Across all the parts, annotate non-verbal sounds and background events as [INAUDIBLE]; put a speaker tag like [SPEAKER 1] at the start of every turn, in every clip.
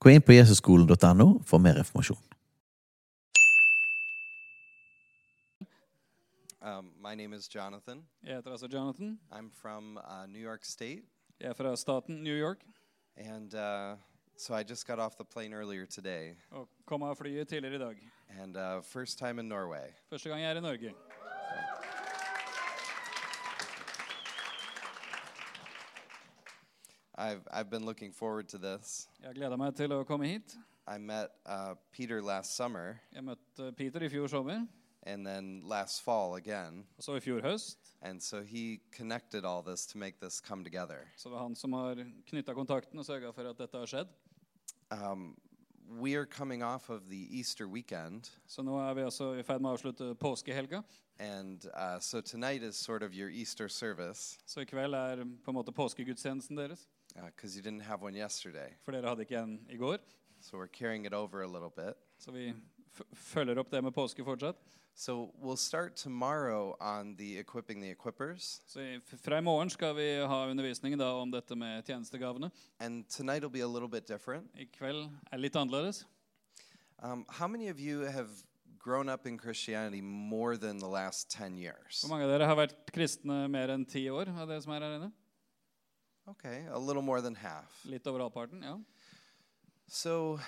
[SPEAKER 1] Gå inn på jesusskolen.no for mer informasjon.
[SPEAKER 2] Um, my name is Jonathan.
[SPEAKER 3] Jeg heter altså Jonathan.
[SPEAKER 2] I'm from uh, New York State,
[SPEAKER 3] Jeg er fra staten New York
[SPEAKER 2] and uh, so I just got off the plane earlier today,
[SPEAKER 3] og kom av flyet tidligere i dag.
[SPEAKER 2] and uh, first time in Norway.
[SPEAKER 3] Første gang jeg er i Norge.
[SPEAKER 2] I've I've been looking forward to this.
[SPEAKER 3] Jeg gleda meg til å komme hit.
[SPEAKER 2] I met uh, Peter last summer,
[SPEAKER 3] Jeg møtte Peter i fjor sommer,
[SPEAKER 2] and then last fall again,
[SPEAKER 3] og så i fjor høst.
[SPEAKER 2] and so he connected all this to make this come together.
[SPEAKER 3] Så det er han som har knytta kontakten og sørga for at dette har skjedd.
[SPEAKER 2] Um, we are coming off of the Easter weekend,
[SPEAKER 3] Så nå er vi altså i ferd med å avslutte påskehelga.
[SPEAKER 2] and uh, so tonight is sort of your Easter service
[SPEAKER 3] Så i kveld er på en måte påskegudstjenesten deres.
[SPEAKER 2] because you didn't have one yesterday,
[SPEAKER 3] For dere hadde ikke en i går.
[SPEAKER 2] so we're carrying it over a little bit.
[SPEAKER 3] Så vi f følger opp det med påske fortsatt.
[SPEAKER 2] So we'll start tomorrow on the equipping the equippers,
[SPEAKER 3] Så i, fra i morgen skal vi ha undervisning da om dette med tjenestegavene.
[SPEAKER 2] and tonight will be a little bit different.
[SPEAKER 3] I kveld er litt annerledes.
[SPEAKER 2] Um, how many of you have grown up in Christianity more than the last 10 years?
[SPEAKER 3] Hvor mange av dere har vært kristne mer enn ti år? av dere som er her inne?
[SPEAKER 2] Okay, a little more than half.
[SPEAKER 3] Litt over halvparten, ja.
[SPEAKER 2] So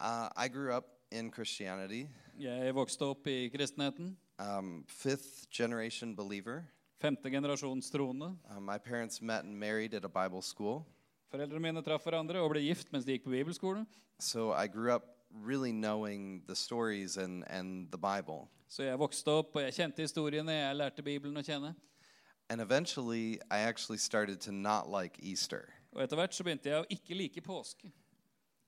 [SPEAKER 2] uh, I grew up in Christianity,
[SPEAKER 3] Jeg vokste opp i kristenheten.
[SPEAKER 2] um, fifth generation believer.
[SPEAKER 3] Femte generasjons troende.
[SPEAKER 2] Um, my parents met and married at a Bible school,
[SPEAKER 3] Foreldrene mine traff hverandre og ble gift mens de gikk på bibelskole.
[SPEAKER 2] so I grew up really knowing the stories and, and the Bible.
[SPEAKER 3] Så jeg vokste opp, og jeg kjente historiene, jeg lærte Bibelen å kjenne.
[SPEAKER 2] And eventually, I actually started to not like Easter.
[SPEAKER 3] Og etter hvert så begynte jeg å ikke like påske.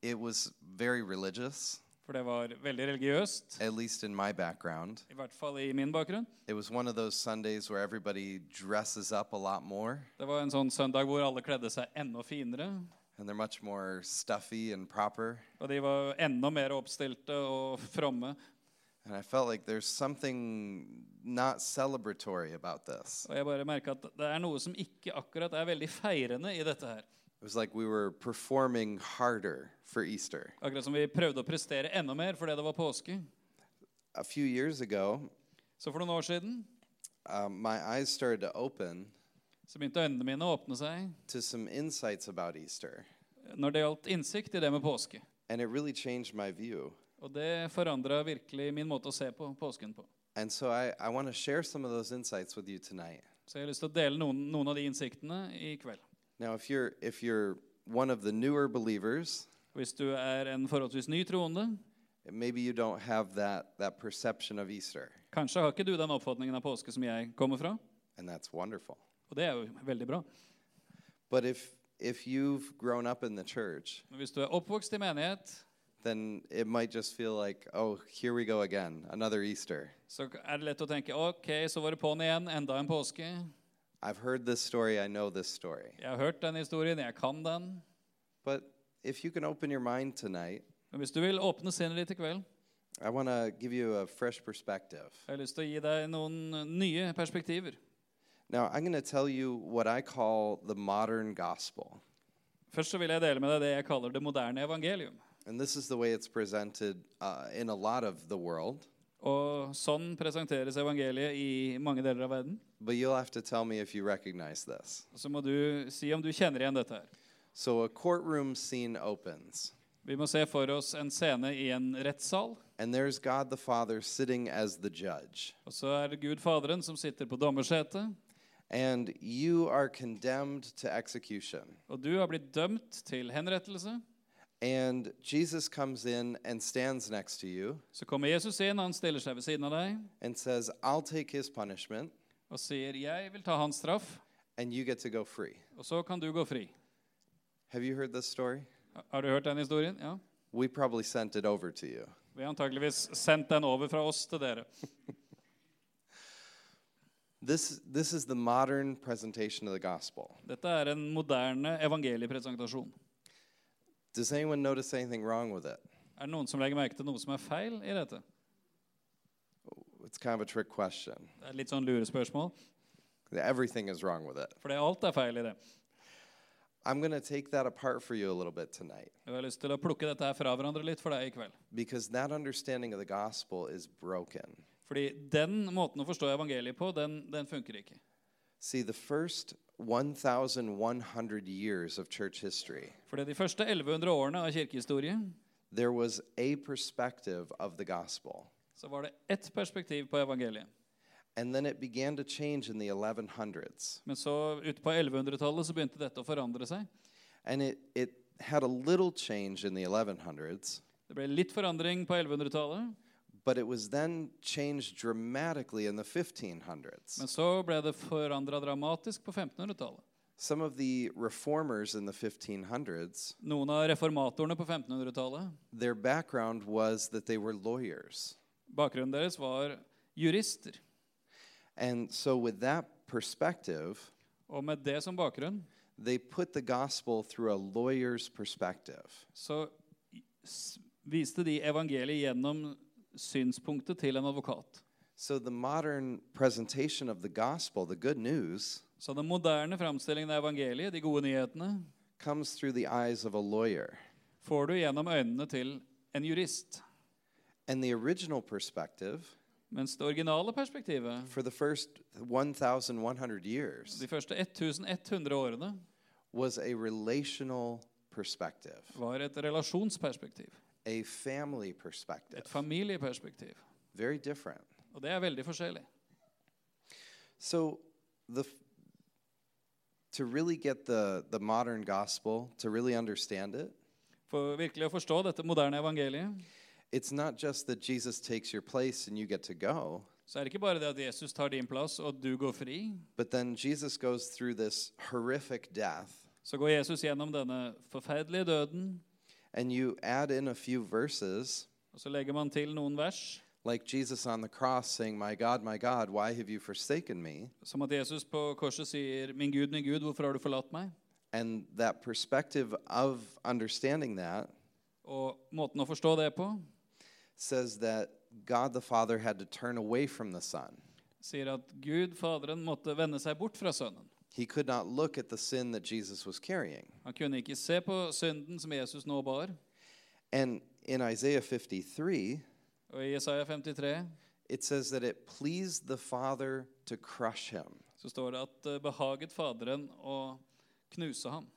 [SPEAKER 2] It was very religious,
[SPEAKER 3] For det var veldig religiøst.
[SPEAKER 2] at least in my background.
[SPEAKER 3] I hvert fall i min bakgrunn.
[SPEAKER 2] It was one of those Sundays where everybody dresses up a lot more
[SPEAKER 3] Det var en sånn søndag hvor alle kledde seg enda finere.
[SPEAKER 2] and they're much more stuffy and proper.
[SPEAKER 3] Og de var enda mer oppstilte og fromme.
[SPEAKER 2] And I felt like there's something not celebratory about this.
[SPEAKER 3] Og jeg bare merka at det er noe som ikke akkurat er veldig feirende i dette her.
[SPEAKER 2] It was like we were performing harder for Easter.
[SPEAKER 3] Akkurat som vi prøvde å prestere enda mer fordi det var påske.
[SPEAKER 2] A few years ago,
[SPEAKER 3] Så for noen år siden
[SPEAKER 2] um, my eyes started to open
[SPEAKER 3] så begynte øynene mine å åpne seg
[SPEAKER 2] to some insights about Easter,
[SPEAKER 3] når det gjaldt innsikt i det med påske.
[SPEAKER 2] and it really changed my view.
[SPEAKER 3] Og det forandra virkelig min måte å se på påsken på.
[SPEAKER 2] And so I, I want to share some of those insights with you tonight.
[SPEAKER 3] Så jeg har lyst til å dele noen, noen av de innsiktene i kveld.
[SPEAKER 2] Now, if you're if you're one of the newer believers,
[SPEAKER 3] Hvis du er en forholdsvis ny troende,
[SPEAKER 2] maybe you don't have that that perception of Easter,
[SPEAKER 3] kanskje har ikke du den oppfatningen av påske som jeg kommer fra.
[SPEAKER 2] and that's wonderful.
[SPEAKER 3] Og det er jo veldig bra.
[SPEAKER 2] But if if you've grown up in the church,
[SPEAKER 3] Men hvis du er oppvokst i menighet,
[SPEAKER 2] then it might just feel like, oh, here we go again, another Easter.
[SPEAKER 3] så er det lett å tenke OK, så var det på'n igjen. Enda en påske.
[SPEAKER 2] I've heard this story, I know this story.
[SPEAKER 3] Jeg har hørt den historien, jeg kan den.
[SPEAKER 2] But if you can open your mind tonight,
[SPEAKER 3] Men hvis du vil åpne sinnet ditt i kveld,
[SPEAKER 2] I want to give you a fresh perspective.
[SPEAKER 3] Jeg har lyst til å gi deg noen nye perspektiver.
[SPEAKER 2] Now, I'm going to tell you what I call the modern gospel.
[SPEAKER 3] Først så vil jeg dele med deg det jeg kaller det moderne evangelium.
[SPEAKER 2] And this is the way it's presented uh, in a lot of the world.
[SPEAKER 3] Og sånn presenteres evangeliet i mange deler av verden.
[SPEAKER 2] But you'll have to tell me if you recognize this.
[SPEAKER 3] Og Så må du si om du kjenner igjen dette her.
[SPEAKER 2] So, a courtroom scene opens,
[SPEAKER 3] Vi må se for oss en scene i en rettssal.
[SPEAKER 2] and there's God the Father sitting as the judge.
[SPEAKER 3] Og så er det Gud Faderen som sitter på dommersetet.
[SPEAKER 2] And you are condemned to execution.
[SPEAKER 3] Og du har blitt dømt til henrettelse.
[SPEAKER 2] And Jesus comes in and stands next to you
[SPEAKER 3] Så kommer Jesus inn, han stiller seg ved siden av deg
[SPEAKER 2] and says, I'll take his punishment,
[SPEAKER 3] og sier 'Jeg vil ta hans straff',
[SPEAKER 2] and you get to go free.
[SPEAKER 3] og så kan du gå fri.
[SPEAKER 2] Have you heard this story?
[SPEAKER 3] Har du hørt den historien? Ja.
[SPEAKER 2] We probably sent it over to you.
[SPEAKER 3] Vi har antakeligvis sendt den over fra oss til dere.
[SPEAKER 2] This, this is the modern presentation of the gospel.
[SPEAKER 3] Dette er en moderne evangeliepresentasjon.
[SPEAKER 2] Does anyone notice anything wrong with it?
[SPEAKER 3] Er det noen som legger merke til noe som er feil i dette?
[SPEAKER 2] It's kind of a trick question.
[SPEAKER 3] Det er et litt sånn lurespørsmål,
[SPEAKER 2] Everything is wrong with it.
[SPEAKER 3] for det- alt er feil i det.
[SPEAKER 2] I'm going to take that apart for you a little bit tonight
[SPEAKER 3] Jeg har lyst til å plukke dette her fra hverandre litt for deg i kveld.
[SPEAKER 2] because that understanding of the gospel is broken.
[SPEAKER 3] Fordi den måten å forstå evangeliet på, den, den funker ikke.
[SPEAKER 2] See, the first 1,100 years of church history,
[SPEAKER 3] Fordi de første 1100 årene av kirkehistorie
[SPEAKER 2] there was a perspective of the gospel.
[SPEAKER 3] så var det ett perspektiv på evangeliet.
[SPEAKER 2] And then it began to change in the 1100s.
[SPEAKER 3] Men så ute på 1100-tallet så begynte dette å forandre seg.
[SPEAKER 2] And it, it had a little change in the 1100s,
[SPEAKER 3] Det ble litt forandring på 1100-tallet,
[SPEAKER 2] but it was then changed dramatically in the 1500s.
[SPEAKER 3] men så ble det forandra dramatisk på 1500-tallet.
[SPEAKER 2] Some of the reformers in the 1500s,
[SPEAKER 3] Noen av reformatorene på 1500-tallet,
[SPEAKER 2] their background was that they were lawyers.
[SPEAKER 3] bakgrunnen deres var jurister.
[SPEAKER 2] And so, with that perspective,
[SPEAKER 3] Og med det som bakgrunn
[SPEAKER 2] they put the gospel through a lawyer's perspective.
[SPEAKER 3] så s- viste de evangeliet gjennom synspunktet til en advokat.
[SPEAKER 2] So, the modern presentation of the gospel, the good news,
[SPEAKER 3] Så den moderne framstillingen av evangeliet, de gode nyhetene,
[SPEAKER 2] comes through the eyes of a lawyer.
[SPEAKER 3] får du gjennom øynene til en jurist.
[SPEAKER 2] And the original perspective,
[SPEAKER 3] Mens det originale perspektivet,
[SPEAKER 2] for the first 1,100 years,
[SPEAKER 3] de første 1100 årene,
[SPEAKER 2] was a relational perspective,
[SPEAKER 3] var et relasjonsperspektiv.
[SPEAKER 2] a family
[SPEAKER 3] Et
[SPEAKER 2] perspective.
[SPEAKER 3] familieperspektiv.
[SPEAKER 2] Very different.
[SPEAKER 3] Og det er veldig forskjellig.
[SPEAKER 2] So, the, f- to really get the, the modern gospel, to really understand it,
[SPEAKER 3] For virkelig å forstå dette moderne evangeliet,
[SPEAKER 2] it's not just that Jesus takes your place and you get to go,
[SPEAKER 3] så er det ikke bare det at Jesus tar din plass, og du går fri.
[SPEAKER 2] but then Jesus goes through this horrific death,
[SPEAKER 3] Så går Jesus gjennom denne forferdelige døden,
[SPEAKER 2] and you add in a few verses,
[SPEAKER 3] og så legger man til noen vers.
[SPEAKER 2] like Jesus on the cross saying, My God, my God, why have you forsaken me?
[SPEAKER 3] Som at Jesus på korset sier, 'Min Gud, min Gud, hvorfor har du forlatt meg?'
[SPEAKER 2] And that perspective of understanding that
[SPEAKER 3] Og måten å forstå det på
[SPEAKER 2] says that God the Father had to turn away from the Son.
[SPEAKER 3] sier at Gud, Faderen, måtte vende seg bort fra sønnen.
[SPEAKER 2] He could not look at the sin that Jesus was carrying.
[SPEAKER 3] Han kunne ikke se på synden som Jesus nå bar.
[SPEAKER 2] And in Isaiah 53,
[SPEAKER 3] Og i Jesaja 53
[SPEAKER 2] it says that it pleased the Father to crush him.
[SPEAKER 3] så står det at eh, behaget Faderen å knuse ham.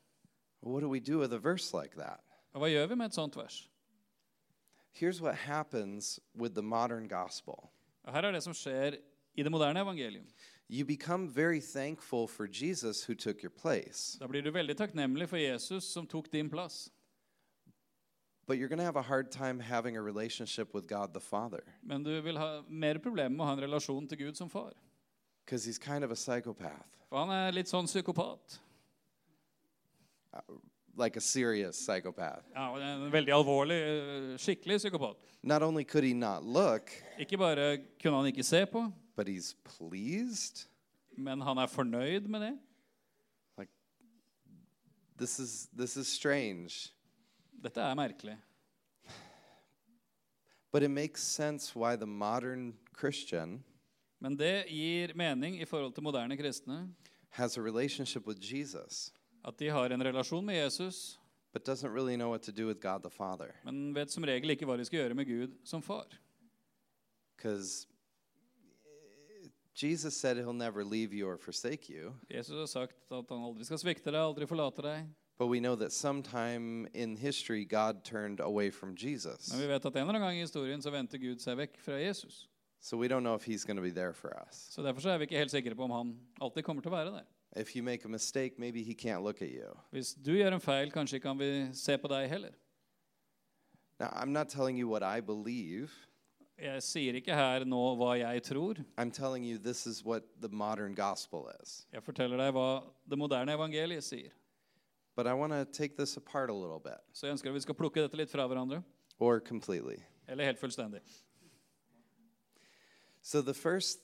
[SPEAKER 2] What do we do with a verse like that?
[SPEAKER 3] Og hva gjør vi med et sånt vers?
[SPEAKER 2] Here's what happens with the modern gospel
[SPEAKER 3] Og her er det som skjer i det moderne evangelium.
[SPEAKER 2] you become very thankful for Jesus who took your place,
[SPEAKER 3] Da blir du veldig takknemlig for Jesus som tok din plass.
[SPEAKER 2] but you're going to have a hard time having a relationship with God the Father
[SPEAKER 3] Men du vil ha mer problemer med å ha en relasjon til Gud som far.
[SPEAKER 2] because he's kind of a psychopath,
[SPEAKER 3] For han er litt sånn psykopat.
[SPEAKER 2] like a serious psychopath.
[SPEAKER 3] Ja, og en veldig alvorlig, eh, skikkelig psykopat.
[SPEAKER 2] Not only could he not look,
[SPEAKER 3] Ikke bare kunne han ikke se på,
[SPEAKER 2] but he's pleased.
[SPEAKER 3] men han er fornøyd med det.
[SPEAKER 2] Like this is this is strange,
[SPEAKER 3] Dette er merkelig.
[SPEAKER 2] but it makes sense why the modern Christian
[SPEAKER 3] Men det gir mening i forhold til moderne kristne.
[SPEAKER 2] has a relationship with Jesus
[SPEAKER 3] At de har en relasjon med Jesus,
[SPEAKER 2] but doesn't really know what to do with God the Father
[SPEAKER 3] men vet som regel ikke hva de skal gjøre med Gud som far.
[SPEAKER 2] cuz Jesus said he'll never leave you or forsake you,
[SPEAKER 3] Jesus har sagt at han aldri skal svikte deg, aldri forlate deg.
[SPEAKER 2] but we know that sometime in history God turned away from Jesus.
[SPEAKER 3] Men vi vet at en eller annen gang i historien så vendte Gud seg vekk fra Jesus.
[SPEAKER 2] So we don't know if he's going to be there for us.
[SPEAKER 3] Så derfor så er vi ikke helt sikre på om han alltid kommer til å være der.
[SPEAKER 2] If you make a mistake, maybe he can't look at you.
[SPEAKER 3] Hvis du gjør en feil, kanskje ikke han vil se på deg heller.
[SPEAKER 2] Now, I'm not telling you what I believe.
[SPEAKER 3] Jeg sier ikke her nå hva jeg tror.
[SPEAKER 2] I'm telling you, this is what the modern gospel is.
[SPEAKER 3] Jeg forteller deg hva det moderne evangeliet sier.
[SPEAKER 2] But I want to take this apart a little bit
[SPEAKER 3] Så jeg ønsker at vi skal plukke dette litt fra hverandre.
[SPEAKER 2] or completely.
[SPEAKER 3] Eller helt fullstendig.
[SPEAKER 2] So, the first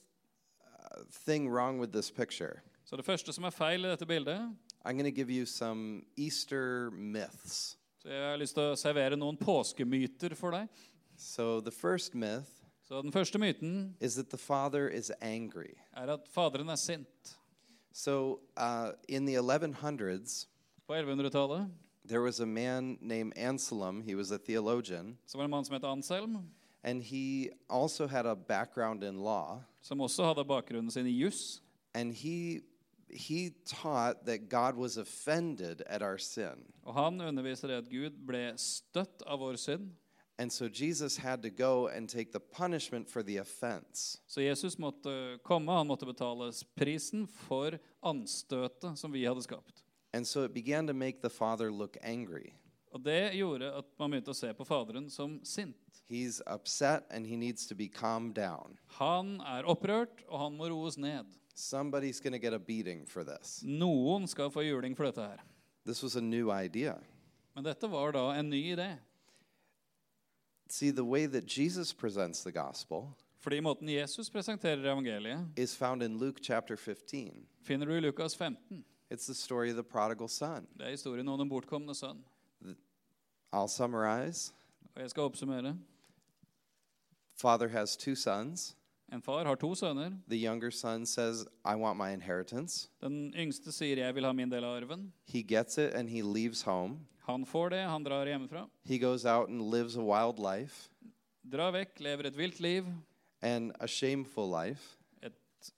[SPEAKER 2] uh, thing wrong with this picture,
[SPEAKER 3] Så det første som er feil i dette bildet
[SPEAKER 2] I'm going to give you some Easter myths.
[SPEAKER 3] så Jeg har lyst til å servere noen påskemyter for deg.
[SPEAKER 2] So, the first myth
[SPEAKER 3] Så Den første myten
[SPEAKER 2] is that the Father is angry.
[SPEAKER 3] er at Faderen er sint.
[SPEAKER 2] So, uh, in the 1100s,
[SPEAKER 3] På 1100-tallet
[SPEAKER 2] there was a man named Anselm. He was a theologian,
[SPEAKER 3] så var det en mann som het Anselm,
[SPEAKER 2] and he also had a background in law.
[SPEAKER 3] som også hadde bakgrunnen sin i juss.
[SPEAKER 2] And he, he taught that God was offended at our sin.
[SPEAKER 3] Og han underviser det at Gud ble støtt av vår synd.
[SPEAKER 2] And so Jesus had to go and take the punishment for the offense.
[SPEAKER 3] Så Jesus måtte komme, han måtte betale prisen for anstøtet som vi hadde skapt.
[SPEAKER 2] And so it began to make the Father look angry.
[SPEAKER 3] Og det gjorde at man begynte å se på Faderen som sint.
[SPEAKER 2] He's upset and he needs to be calmed down.
[SPEAKER 3] Han er opprørt, og han må roes ned.
[SPEAKER 2] Somebody's going to get a beating for this.
[SPEAKER 3] Noen skal få juling for dette her.
[SPEAKER 2] This was a new idea.
[SPEAKER 3] Men dette var da en ny idé.
[SPEAKER 2] See, the way that Jesus presents the gospel
[SPEAKER 3] Fordi måten Jesus presenterer evangeliet,
[SPEAKER 2] is found in Luke chapter 15.
[SPEAKER 3] finner du i Lukas 15.
[SPEAKER 2] It's the story of the prodigal son.
[SPEAKER 3] Det er historien om den bortkomne sønn.
[SPEAKER 2] I'll summarize.
[SPEAKER 3] Og jeg skal oppsummere.
[SPEAKER 2] Father has two sons.
[SPEAKER 3] En far har to sønner.
[SPEAKER 2] The younger son says, I want my inheritance.
[SPEAKER 3] Den yngste sier 'jeg vil ha min del av arven'.
[SPEAKER 2] He gets it and he leaves home.
[SPEAKER 3] Han får det, han drar hjemmefra.
[SPEAKER 2] He goes out and lives a wild life
[SPEAKER 3] Drar vekk, lever et vilt liv,
[SPEAKER 2] and a shameful life,
[SPEAKER 3] et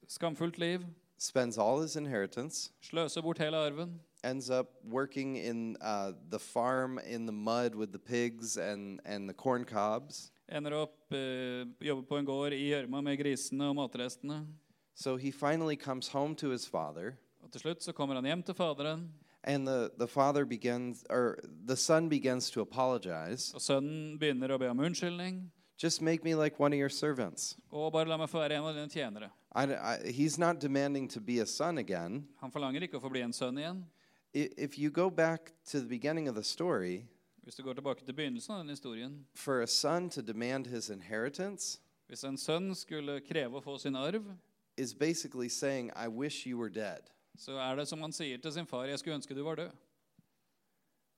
[SPEAKER 3] skamfullt liv.
[SPEAKER 2] spends all his inheritance,
[SPEAKER 3] Sløser bort hele arven.
[SPEAKER 2] ends up working in uh, the farm in the mud with the pigs and, and the corn cobs.
[SPEAKER 3] Ender opp eh, jobber på en gård i gjørma med grisene og matrestene.
[SPEAKER 2] So he finally comes home to his father,
[SPEAKER 3] Og til slutt så kommer han hjem til Faderen,
[SPEAKER 2] and the, the father begins, or the son begins to apologize.
[SPEAKER 3] og sønnen begynner å be om unnskyldning.
[SPEAKER 2] Just make me like one of your servants.
[SPEAKER 3] Og bare la meg få være en av dine tjenere.
[SPEAKER 2] I, I- he's not demanding to be a son again.
[SPEAKER 3] Han forlanger ikke å få bli en sønn igjen.
[SPEAKER 2] I- If you go back to the beginning of the story,
[SPEAKER 3] Hvis du går tilbake til begynnelsen av den historien
[SPEAKER 2] for a son to demand his inheritance
[SPEAKER 3] Hvis en sønn skulle kreve å få sin arv,
[SPEAKER 2] is basically saying, I wish you were dead.
[SPEAKER 3] så er det som han sier til sin far, 'Jeg skulle ønske du var død'.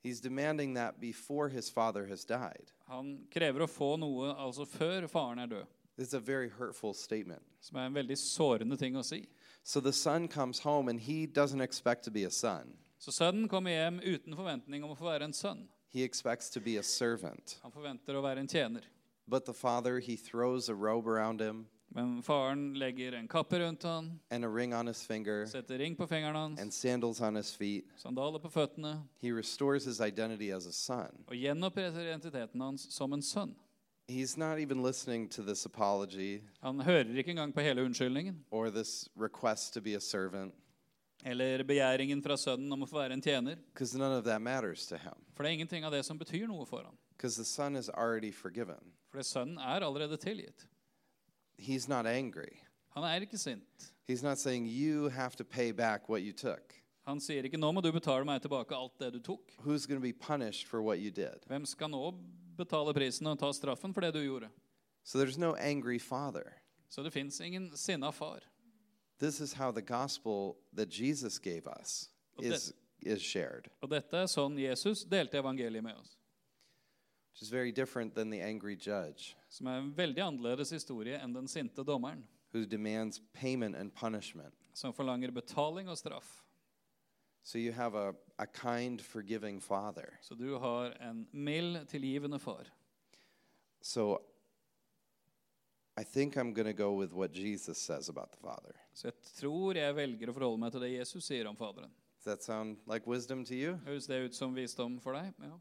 [SPEAKER 2] He's demanding that before his father has died.
[SPEAKER 3] Han krever å få noe altså før faren er død,
[SPEAKER 2] It's a very hurtful statement.
[SPEAKER 3] som er en veldig sårende ting å si.
[SPEAKER 2] So the son comes home and he doesn't expect to be a son.
[SPEAKER 3] Så sønnen kommer hjem uten forventning om å få være en sønn.
[SPEAKER 2] He expects to be a servant.
[SPEAKER 3] Han forventer å være en tjener.
[SPEAKER 2] But the father, he throws a robe around him
[SPEAKER 3] Men faren legger en kappe rundt han,
[SPEAKER 2] and a ring on his finger
[SPEAKER 3] setter ring på fingeren
[SPEAKER 2] and
[SPEAKER 3] hans,
[SPEAKER 2] sandals on his feet.
[SPEAKER 3] sandaler på føttene
[SPEAKER 2] He restores his identity as a son.
[SPEAKER 3] og gjenoppretter identiteten hans som en sønn.
[SPEAKER 2] He's not even listening to this apology
[SPEAKER 3] Han hører ikke engang på hele unnskyldningen
[SPEAKER 2] or this request to be a servant
[SPEAKER 3] eller begjæringen fra sønnen om å få være en tjener,
[SPEAKER 2] because none of that matters to him.
[SPEAKER 3] for det er ingenting av det som betyr noe for ham.
[SPEAKER 2] Because the son is already forgiven.
[SPEAKER 3] For det sønnen er allerede tilgitt.
[SPEAKER 2] He's not angry.
[SPEAKER 3] Han er ikke sint.
[SPEAKER 2] He's not saying, You have to pay back what you took.
[SPEAKER 3] Han sier ikke 'nå må du betale meg tilbake alt det du tok'.
[SPEAKER 2] Who's going to be punished for what you did?
[SPEAKER 3] Hvem skal nå betale prisen og ta straffen for det du gjorde?
[SPEAKER 2] So there's no angry father.
[SPEAKER 3] Så det fins ingen sinna far.
[SPEAKER 2] This is how the gospel that Jesus gave us
[SPEAKER 3] Well,
[SPEAKER 2] is, is shared,
[SPEAKER 3] Og dette er sånn Jesus delte evangeliet med oss.
[SPEAKER 2] which is very different than the angry judge
[SPEAKER 3] Som er en veldig annerledes historie enn den sinte dommeren,
[SPEAKER 2] who demands payment and punishment.
[SPEAKER 3] som forlanger betaling og straff.
[SPEAKER 2] So you have a, a kind, forgiving father.
[SPEAKER 3] Så du har en mild, tilgivende far.
[SPEAKER 2] So I think I'm going to go with what Jesus says about the father.
[SPEAKER 3] Så jeg tror jeg velger å forholde meg til det Jesus sier om Faderen.
[SPEAKER 2] Does that sound like wisdom to you?
[SPEAKER 3] Høres det ut som visdom for deg? Ja.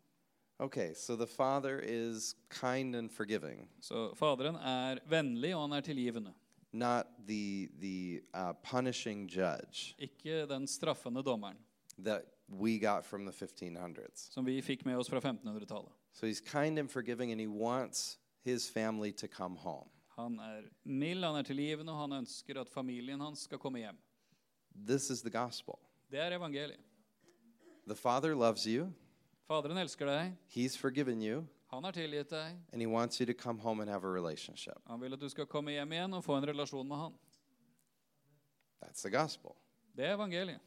[SPEAKER 2] Okay, so the Father is kind and forgiving,
[SPEAKER 3] Så Faderen er vennlig, og han er tilgivende.
[SPEAKER 2] not the the uh, punishing judge
[SPEAKER 3] Ikke den straffende dommeren
[SPEAKER 2] that we got from the 1500s.
[SPEAKER 3] som vi fikk med oss fra 1500-tallet.
[SPEAKER 2] So he's kind and forgiving, and he wants his family to come home.
[SPEAKER 3] Han er mild, han er tilgivende, og han ønsker at familien hans skal komme hjem.
[SPEAKER 2] This is the gospel.
[SPEAKER 3] Det er evangeliet.
[SPEAKER 2] The Father loves you,
[SPEAKER 3] Faderen elsker deg.
[SPEAKER 2] He's forgiven you,
[SPEAKER 3] Han har tilgitt deg.
[SPEAKER 2] and He wants you to come home and have a relationship.
[SPEAKER 3] Han vil at du skal komme hjem igjen og få en relasjon med han.
[SPEAKER 2] That's the gospel.
[SPEAKER 3] Det er evangeliet.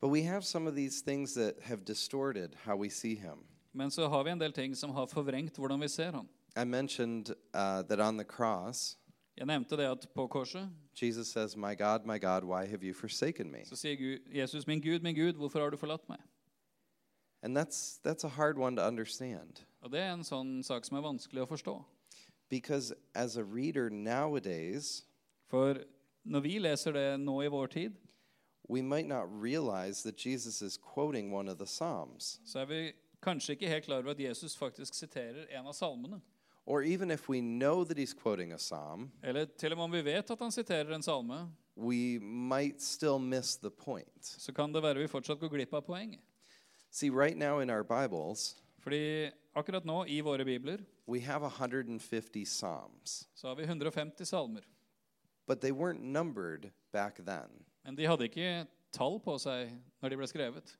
[SPEAKER 2] But we have some of these things that have distorted how we see Him.
[SPEAKER 3] Men så har vi en del ting som har forvrengt hvordan vi ser han.
[SPEAKER 2] I mentioned uh, that on the cross,
[SPEAKER 3] Jeg nevnte det at på korset
[SPEAKER 2] Jesus says, My God, my God, why have you forsaken me?
[SPEAKER 3] så sier Gud, Jesus, min Gud, min Gud, hvorfor har du forlatt meg?
[SPEAKER 2] And that's, that's a hard one to understand
[SPEAKER 3] Og det er en sånn sak som er vanskelig å forstå.
[SPEAKER 2] because as a reader nowadays,
[SPEAKER 3] For når vi leser det nå i vår tid,
[SPEAKER 2] we might not realize that Jesus is quoting one of the Psalms.
[SPEAKER 3] så er vi kanskje ikke helt klar over at Jesus faktisk siterer en av salmene.
[SPEAKER 2] Or even if we know that he's quoting a Psalm,
[SPEAKER 3] Eller til og med om vi vet at han siterer en salme,
[SPEAKER 2] we might still miss the point.
[SPEAKER 3] så kan det være vi fortsatt går glipp av poenget.
[SPEAKER 2] See, right now in our Bibles,
[SPEAKER 3] Fordi akkurat nå, i våre bibler,
[SPEAKER 2] we have 150 Psalms,
[SPEAKER 3] så har vi 150 salmer.
[SPEAKER 2] but they weren't numbered back then.
[SPEAKER 3] Men de hadde ikke tall på seg når de ble skrevet.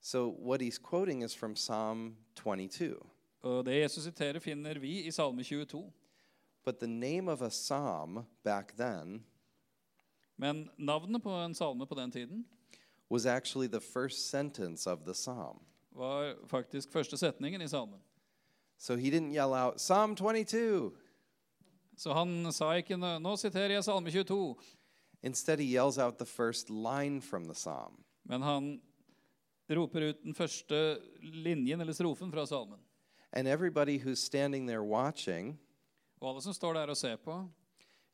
[SPEAKER 2] So what he's quoting is from Psalm 22.
[SPEAKER 3] Og det Jesus siterer, finner vi i Salme 22.
[SPEAKER 2] But the name of a psalm back then
[SPEAKER 3] Men navnet på en salme på den tiden
[SPEAKER 2] was actually the first sentence of the psalm.
[SPEAKER 3] var faktisk første setningen i salmen.
[SPEAKER 2] So he didn't yell out, Psalm 22.
[SPEAKER 3] Så han sa ikke nå nå siterer jeg Salme 22,
[SPEAKER 2] Instead, he yells out the first line from the psalm.
[SPEAKER 3] men han roper ut den første linjen eller strofen fra salmen.
[SPEAKER 2] And everybody who's standing there watching
[SPEAKER 3] Og alle som står der og ser på,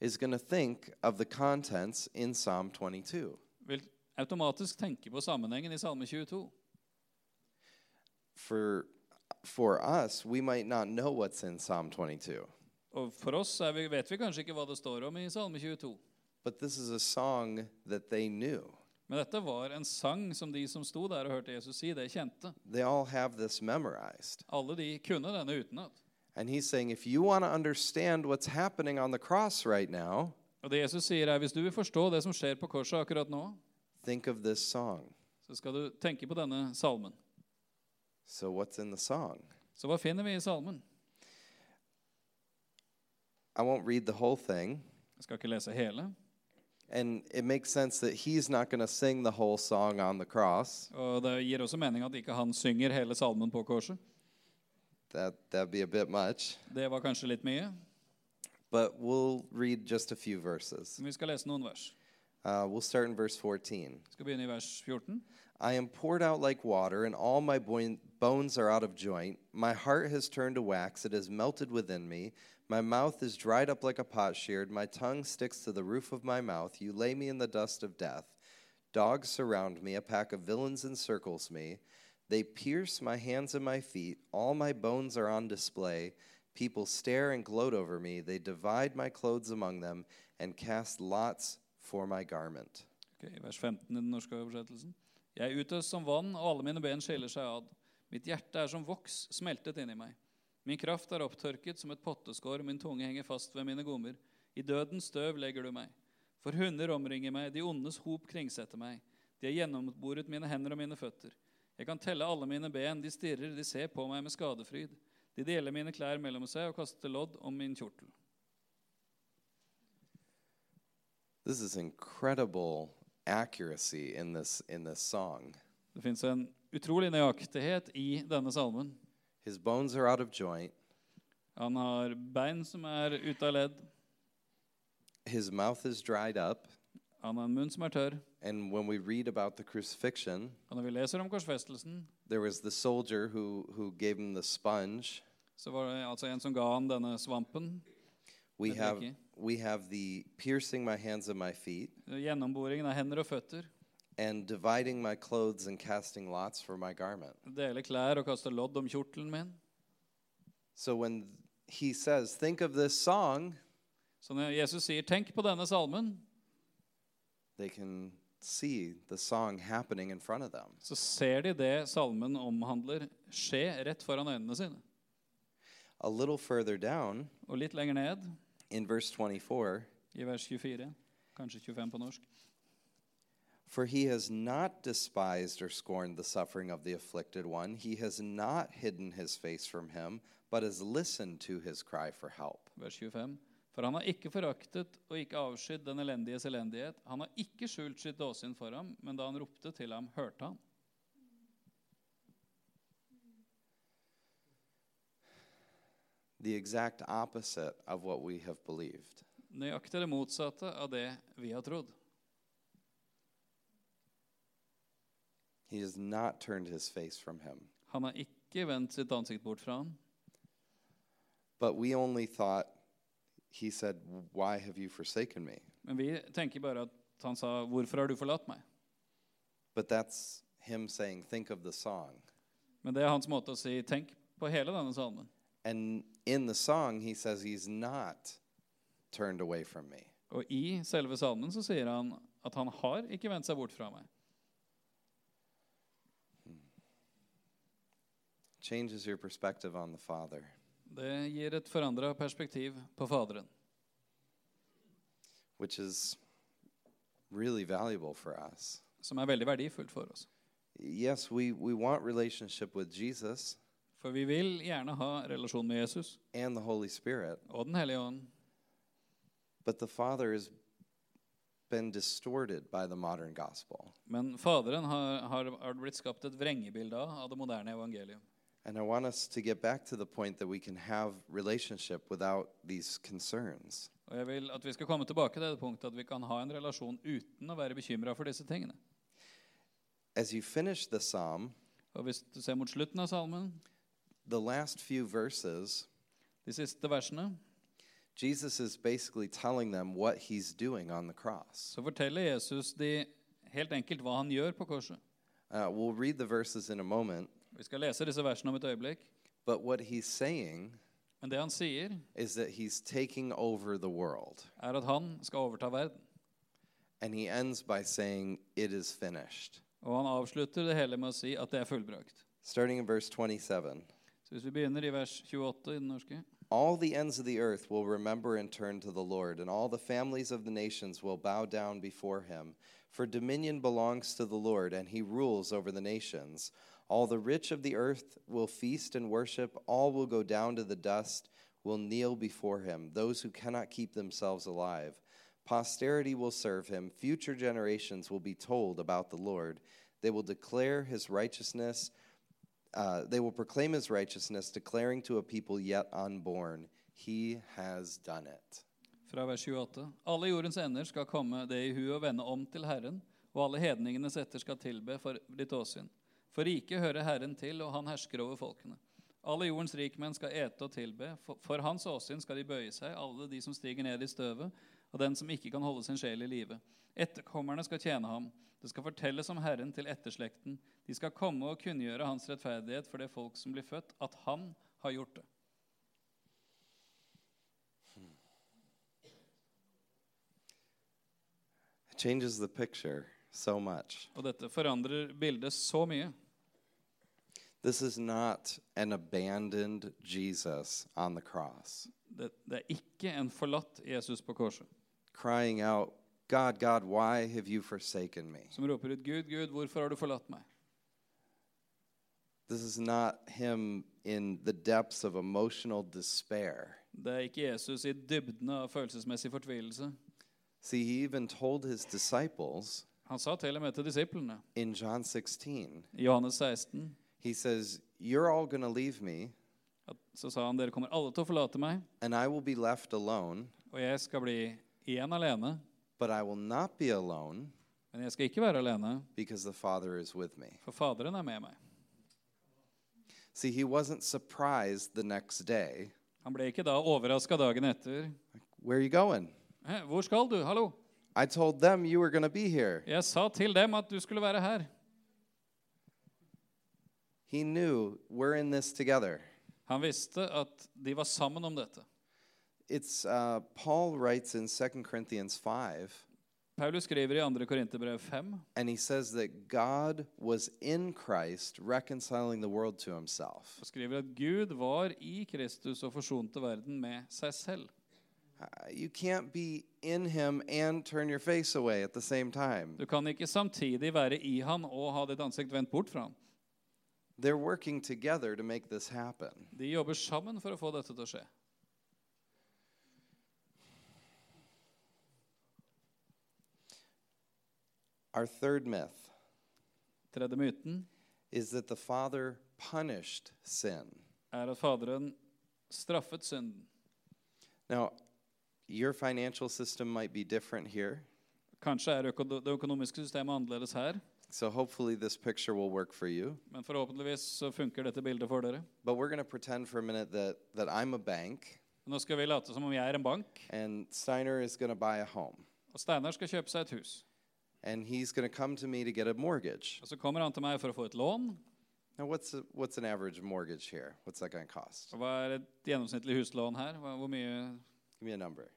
[SPEAKER 2] is going to think of the contents in Psalm 22.
[SPEAKER 3] vil automatisk tenke på sammenhengen i Salme 22.
[SPEAKER 2] For, for us, we might not know what's in Psalm 22,
[SPEAKER 3] Og for oss er vi, vet vi kanskje ikke hva det står om i Salme 22.
[SPEAKER 2] but this is a song that they knew.
[SPEAKER 3] Men dette var en sang som de som sto der og hørte Jesus si, det kjente.
[SPEAKER 2] They all have this memorized.
[SPEAKER 3] Alle de kunne denne utenat.
[SPEAKER 2] And he's saying, if you want to understand what's happening on the cross right now,
[SPEAKER 3] Og det Jesus sier, er hvis du vil forstå det som skjer på korset akkurat nå,
[SPEAKER 2] think of this song.
[SPEAKER 3] så skal du tenke på denne salmen.
[SPEAKER 2] So, what's in the song?
[SPEAKER 3] Så hva finner vi i salmen?
[SPEAKER 2] I won't read the whole thing.
[SPEAKER 3] Jeg skal ikke lese hele.
[SPEAKER 2] And it makes sense that he's not going to sing the whole song on the cross.
[SPEAKER 3] Og det gir også mening at ikke han synger hele salmen på korset.
[SPEAKER 2] That, that'd be a bit much.
[SPEAKER 3] Det var kanskje litt mye,
[SPEAKER 2] But we'll read just a few verses.
[SPEAKER 3] men vi skal lese noen vers.
[SPEAKER 2] Uh, we'll start in verse 14.
[SPEAKER 3] Vi skal begynne i vers 14.
[SPEAKER 2] I am poured out like water, and all my boin- bones are out of joint. My heart has turned to wax, it has melted within me. My mouth is dried up like a potsherd, my tongue sticks to the roof of my mouth. You lay me in the dust of death. Dogs surround me, a pack of villains encircles me. They pierce my hands and my feet, all my bones are on display. People stare and gloat over me, they divide my clothes among them, and cast lots for my garment.
[SPEAKER 3] Ok, vers 15 i den norske oversettelsen. Jeg er utøst som vann, og alle mine ben skiller seg ad. Mitt hjerte er som voks, smeltet inni meg. Min kraft er opptørket som et potteskår, min tunge henger fast ved mine gommer. I dødens støv legger du meg. For hunder omringer meg, de ondes hop kringsetter meg. De har gjennomboret mine hender og mine føtter. Jeg kan telle alle mine ben, de stirrer, de ser på meg med skadefryd. De deler mine klær mellom seg og kaster lodd om min kjortel.
[SPEAKER 2] This is incredible accuracy in this in this song.
[SPEAKER 3] Det fins en utrolig nøyaktighet i denne salmen.
[SPEAKER 2] His bones are out of joint.
[SPEAKER 3] Han har bein som er ute av ledd.
[SPEAKER 2] His mouth is dried up.
[SPEAKER 3] Han har en munn som er tørr.
[SPEAKER 2] And when we read about the crucifixion,
[SPEAKER 3] Og når vi leser om korsfestelsen,
[SPEAKER 2] there was the soldier who who gave him the sponge.
[SPEAKER 3] så var det altså en som ga han denne svampen.
[SPEAKER 2] We
[SPEAKER 3] That's
[SPEAKER 2] have
[SPEAKER 3] lucky.
[SPEAKER 2] we have the piercing my hands and my feet
[SPEAKER 3] Gjennomboringen av hender og føtter.
[SPEAKER 2] and dividing my clothes and casting lots for my garment.
[SPEAKER 3] Dele klær og kaste lodd om kjortelen min.
[SPEAKER 2] So when he says, "Think of this song,"
[SPEAKER 3] Så når Jesus sier 'tenk på denne salmen',
[SPEAKER 2] they can see the song happening in front of them.
[SPEAKER 3] så ser de det salmen omhandler, skje rett foran øynene sine.
[SPEAKER 2] A little further down
[SPEAKER 3] Og litt lenger ned,
[SPEAKER 2] in verse 24,
[SPEAKER 3] i vers 24, kanskje 25 på norsk
[SPEAKER 2] For he has not despised or scorned the suffering of the afflicted one. He has not hidden his face from him, but has listened to his cry for help.
[SPEAKER 3] vers 25. For han har ikke foraktet og ikke avskydd den elendiges elendighet. Han har ikke skjult sitt åsyn for ham, men da han ropte til ham, hørte han.
[SPEAKER 2] The exact opposite of what we have believed.
[SPEAKER 3] Nøyaktig det motsatte av det vi har trodd.
[SPEAKER 2] He has not turned his face from him.
[SPEAKER 3] Han har ikke vendt sitt ansikt bort fra ham.
[SPEAKER 2] But we only thought, he said, Why have you forsaken me?
[SPEAKER 3] Men vi tenker bare at han sa, 'Hvorfor har du forlatt meg?'
[SPEAKER 2] But that's him saying, Think of the song.
[SPEAKER 3] Men det er hans måte å si 'tenk på hele denne salmen'.
[SPEAKER 2] And in the song, he says, He's not turned away from me.
[SPEAKER 3] Og i selve salmen så sier han at han har ikke vendt seg bort fra meg.
[SPEAKER 2] Changes your perspective on the Father.
[SPEAKER 3] Det gir et forandra perspektiv på Faderen,
[SPEAKER 2] which is really valuable for us.
[SPEAKER 3] som er veldig verdifullt for oss.
[SPEAKER 2] Yes, we, we want relationship with Jesus
[SPEAKER 3] For vi vil gjerne ha relasjon med Jesus
[SPEAKER 2] and the Holy Spirit,
[SPEAKER 3] og Den hellige ånd,
[SPEAKER 2] but the Father has been distorted by the modern gospel.
[SPEAKER 3] men Faderen har, har, har blitt skapt et vrengebilde av, av det moderne evangelium.
[SPEAKER 2] And I want us to get back to the point that we can have relationship without these concerns.
[SPEAKER 3] Og jeg vil at vi skal komme tilbake til det punktet at vi kan ha en relasjon uten å være bekymra for disse tingene.
[SPEAKER 2] As you finish the psalm,
[SPEAKER 3] Og hvis du ser mot slutten av salmen,
[SPEAKER 2] the last few verses,
[SPEAKER 3] de siste versene,
[SPEAKER 2] Jesus is basically telling them what he's doing on the cross.
[SPEAKER 3] så forteller Jesus de helt enkelt hva han gjør på korset.
[SPEAKER 2] Uh, we'll read the verses in a moment,
[SPEAKER 3] Vi skal lese disse versene om et øyeblikk.
[SPEAKER 2] but what he's saying
[SPEAKER 3] Men det han sier,
[SPEAKER 2] is that he's taking over the world.
[SPEAKER 3] er at han skal overta verden.
[SPEAKER 2] And he ends by saying, It is finished.
[SPEAKER 3] Og han avslutter det hele med å si at det er fullbrakt.
[SPEAKER 2] Starting in verse 27.
[SPEAKER 3] Så hvis vi begynner i vers 28 i den norske
[SPEAKER 2] All the ends of the earth will remember and turn to the Lord, and all the families of the nations will bow down before him. For dominion belongs to the Lord, and he rules over the nations. All the rich of the earth will feast and worship, all will go down to the dust, will kneel before him, those who cannot keep themselves alive. Posterity will serve him, future generations will be told about the Lord. They will declare his righteousness. Uh, they will proclaim his righteousness, declaring to a people yet unborn, He has done it.
[SPEAKER 3] fra vers 28. Alle jordens ender skal komme det i hu og vende om til Herren, og alle hedningenes etter skal tilbe for ditt åsyn. For riket hører Herren til, og han hersker over folkene. Alle jordens rikmenn skal ete og tilbe, for, for hans åsyn skal de bøye seg, alle de som stiger ned i støvet, og den som ikke kan holde sin sjel i live. Etterkommerne skal tjene ham. Det skal fortelles om Herren til etterslekten. De skal komme og kunngjøre hans rettferdighet for det folk som blir født, at han har gjort det.
[SPEAKER 2] It changes the picture so much.
[SPEAKER 3] Og dette forandrer bildet så mye.
[SPEAKER 2] This is not an abandoned Jesus on the cross,
[SPEAKER 3] Det, det er ikke en forlatt Jesus på korset
[SPEAKER 2] crying out, God, God, why have you forsaken me?
[SPEAKER 3] som roper ut 'Gud, Gud, hvorfor har du forlatt meg?'
[SPEAKER 2] This is not him in the depths of emotional despair.
[SPEAKER 3] Det er ikke Jesus i dybdene av følelsesmessig fortvilelse.
[SPEAKER 2] See, he even told his disciples
[SPEAKER 3] Han sa til og med til disiplene
[SPEAKER 2] in John 16,
[SPEAKER 3] i Johannes 16
[SPEAKER 2] He says, You're all going to leave me,
[SPEAKER 3] at, Så sa han 'Dere kommer alle til å forlate meg,
[SPEAKER 2] and I will be left alone.
[SPEAKER 3] og jeg skal bli igjen alene.'
[SPEAKER 2] But I will not be alone
[SPEAKER 3] Men jeg skal ikke være alene,
[SPEAKER 2] because the Father is with me.
[SPEAKER 3] for Faderen er med meg.
[SPEAKER 2] See, he wasn't surprised the next day.
[SPEAKER 3] Han ble ikke da overraska dagen etter.
[SPEAKER 2] Where are you going?
[SPEAKER 3] Hæ, 'Hvor skal du? Hallo?'
[SPEAKER 2] I told them you were going to be here.
[SPEAKER 3] Jeg sa til dem at du skulle være her.
[SPEAKER 2] He knew we're in this together.
[SPEAKER 3] Han visste at de var sammen om dette.
[SPEAKER 2] It's uh, Paul writes in 2 Corinthians 5,
[SPEAKER 3] Paulus skriver i 2. Korinterbrev 5
[SPEAKER 2] and he says that God was in Christ reconciling the world to himself.
[SPEAKER 3] og skriver at Gud var i Kristus og forsonte verden med seg selv.
[SPEAKER 2] Uh, You can't be in him and turn your face away at the same time.
[SPEAKER 3] Du kan ikke samtidig være i han og ha ditt ansikt vendt bort fra han.
[SPEAKER 2] They're working together to make this happen.
[SPEAKER 3] De jobber sammen for å få dette til å skje.
[SPEAKER 2] Our third myth
[SPEAKER 3] Tredje myten
[SPEAKER 2] is that the Father punished sin.
[SPEAKER 3] er at Faderen straffet synden.
[SPEAKER 2] Now, your financial system might be different here,
[SPEAKER 3] Kanskje er øko det økonomiske systemet annerledes her,
[SPEAKER 2] so hopefully this picture will work for you.
[SPEAKER 3] men forhåpentligvis så funker dette bildet for dere.
[SPEAKER 2] But we're going to pretend for a minute that, that I'm a bank
[SPEAKER 3] Nå skal vi late som om jeg er en bank,
[SPEAKER 2] and Steiner is going to buy a home
[SPEAKER 3] og Steinar skal kjøpe seg et hus.
[SPEAKER 2] and he's going to come to me to get a mortgage.
[SPEAKER 3] Og så kommer han til meg for å få et lån.
[SPEAKER 2] Now, what's, a, what's an average mortgage here? What's that going to cost?
[SPEAKER 3] Og Hva er et gjennomsnittlig huslån her? Hva- Hvor mye
[SPEAKER 2] Give me a number.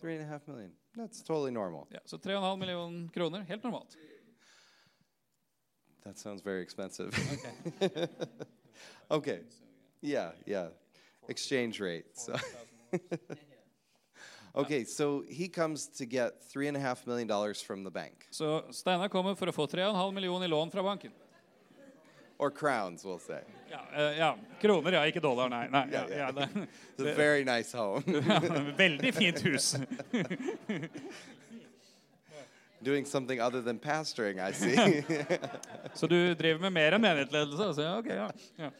[SPEAKER 2] Three and a half million. That's totally normal.
[SPEAKER 3] ja, Så 3,5 millioner kroner. Helt normalt.
[SPEAKER 2] That sounds very expensive. Okay. [LAUGHS] okay. Yeah, yeah. Exchange rate. So. [LAUGHS] okay, so he comes to get three and a half million dollars from the bank,
[SPEAKER 3] Så Steinar kommer for å få 3,5 millioner i lån fra banken.
[SPEAKER 2] or crowns, we'll say.
[SPEAKER 3] Ja, eh, ja. Kroner, ja. Ikke dollar, nei. nei ja, ja, [LAUGHS] det,
[SPEAKER 2] It's a very nice home. [LAUGHS]
[SPEAKER 3] ja, veldig fint hus.
[SPEAKER 2] Doing something other than pastoring, I see.
[SPEAKER 3] Så du driver med mer enn menighetsledelse? Altså, ja, ok, ja. Ja.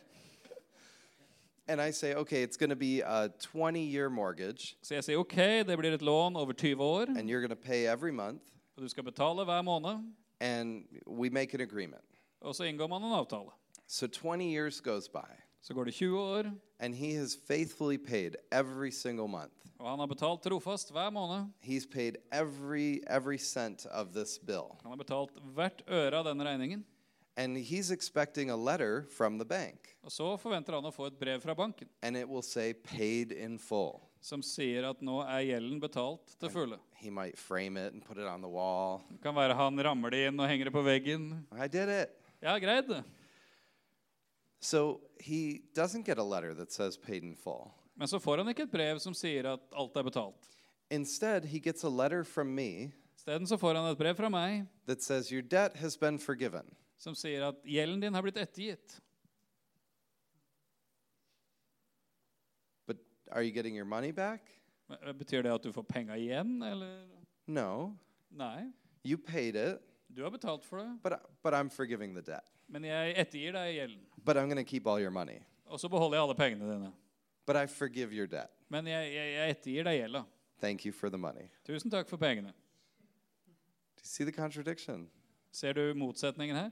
[SPEAKER 2] and I say, okay, it's going to be a 20 year mortgage,
[SPEAKER 3] Så jeg sier ok, det blir et lån over 20 år,
[SPEAKER 2] and you're going to pay every month,
[SPEAKER 3] og du skal betale hver måned.
[SPEAKER 2] and we make an agreement.
[SPEAKER 3] Og så inngår man en avtale.
[SPEAKER 2] So 20 years goes by,
[SPEAKER 3] Så går det 20 år,
[SPEAKER 2] and he has faithfully paid every single month.
[SPEAKER 3] og han har betalt trofast hver måned.
[SPEAKER 2] He's paid every every cent of this bill.
[SPEAKER 3] Han har betalt hvert øre av denne regningen.
[SPEAKER 2] And he's expecting a letter from the bank
[SPEAKER 3] Og så forventer han å få et brev fra banken
[SPEAKER 2] and it will say paid in full.
[SPEAKER 3] som sier at nå er gjelden betalt til fulle.
[SPEAKER 2] He might frame it and put it on the wall.
[SPEAKER 3] Det kan være han rammer det inn og henger det på veggen.
[SPEAKER 2] I did it.
[SPEAKER 3] Ja, greit det.
[SPEAKER 2] So he doesn't get a letter that says paid in full.
[SPEAKER 3] Men så får han ikke et brev som sier at alt er betalt.
[SPEAKER 2] Instead, he gets a letter from me
[SPEAKER 3] Isteden så får han et brev fra meg
[SPEAKER 2] that says your debt has been forgiven.
[SPEAKER 3] som sier at gjelden din har blitt ettergitt.
[SPEAKER 2] But are you getting your money back?
[SPEAKER 3] Men, eh, Betyr det at du får penga igjen, eller?
[SPEAKER 2] No.
[SPEAKER 3] Nei.
[SPEAKER 2] You paid it,
[SPEAKER 3] Du har betalt for det,
[SPEAKER 2] but I- but I'm forgiving the debt.
[SPEAKER 3] men jeg ettergir deg gjelden.
[SPEAKER 2] But I'm going to keep all your money.
[SPEAKER 3] Og så beholder jeg alle pengene dine.
[SPEAKER 2] But I forgive your debt.
[SPEAKER 3] Men jeg, jeg, jeg ettergir deg gjelda.
[SPEAKER 2] Thank you for the money.
[SPEAKER 3] Tusen takk for pengene.
[SPEAKER 2] Do you see the contradiction?
[SPEAKER 3] Ser du motsetningen her?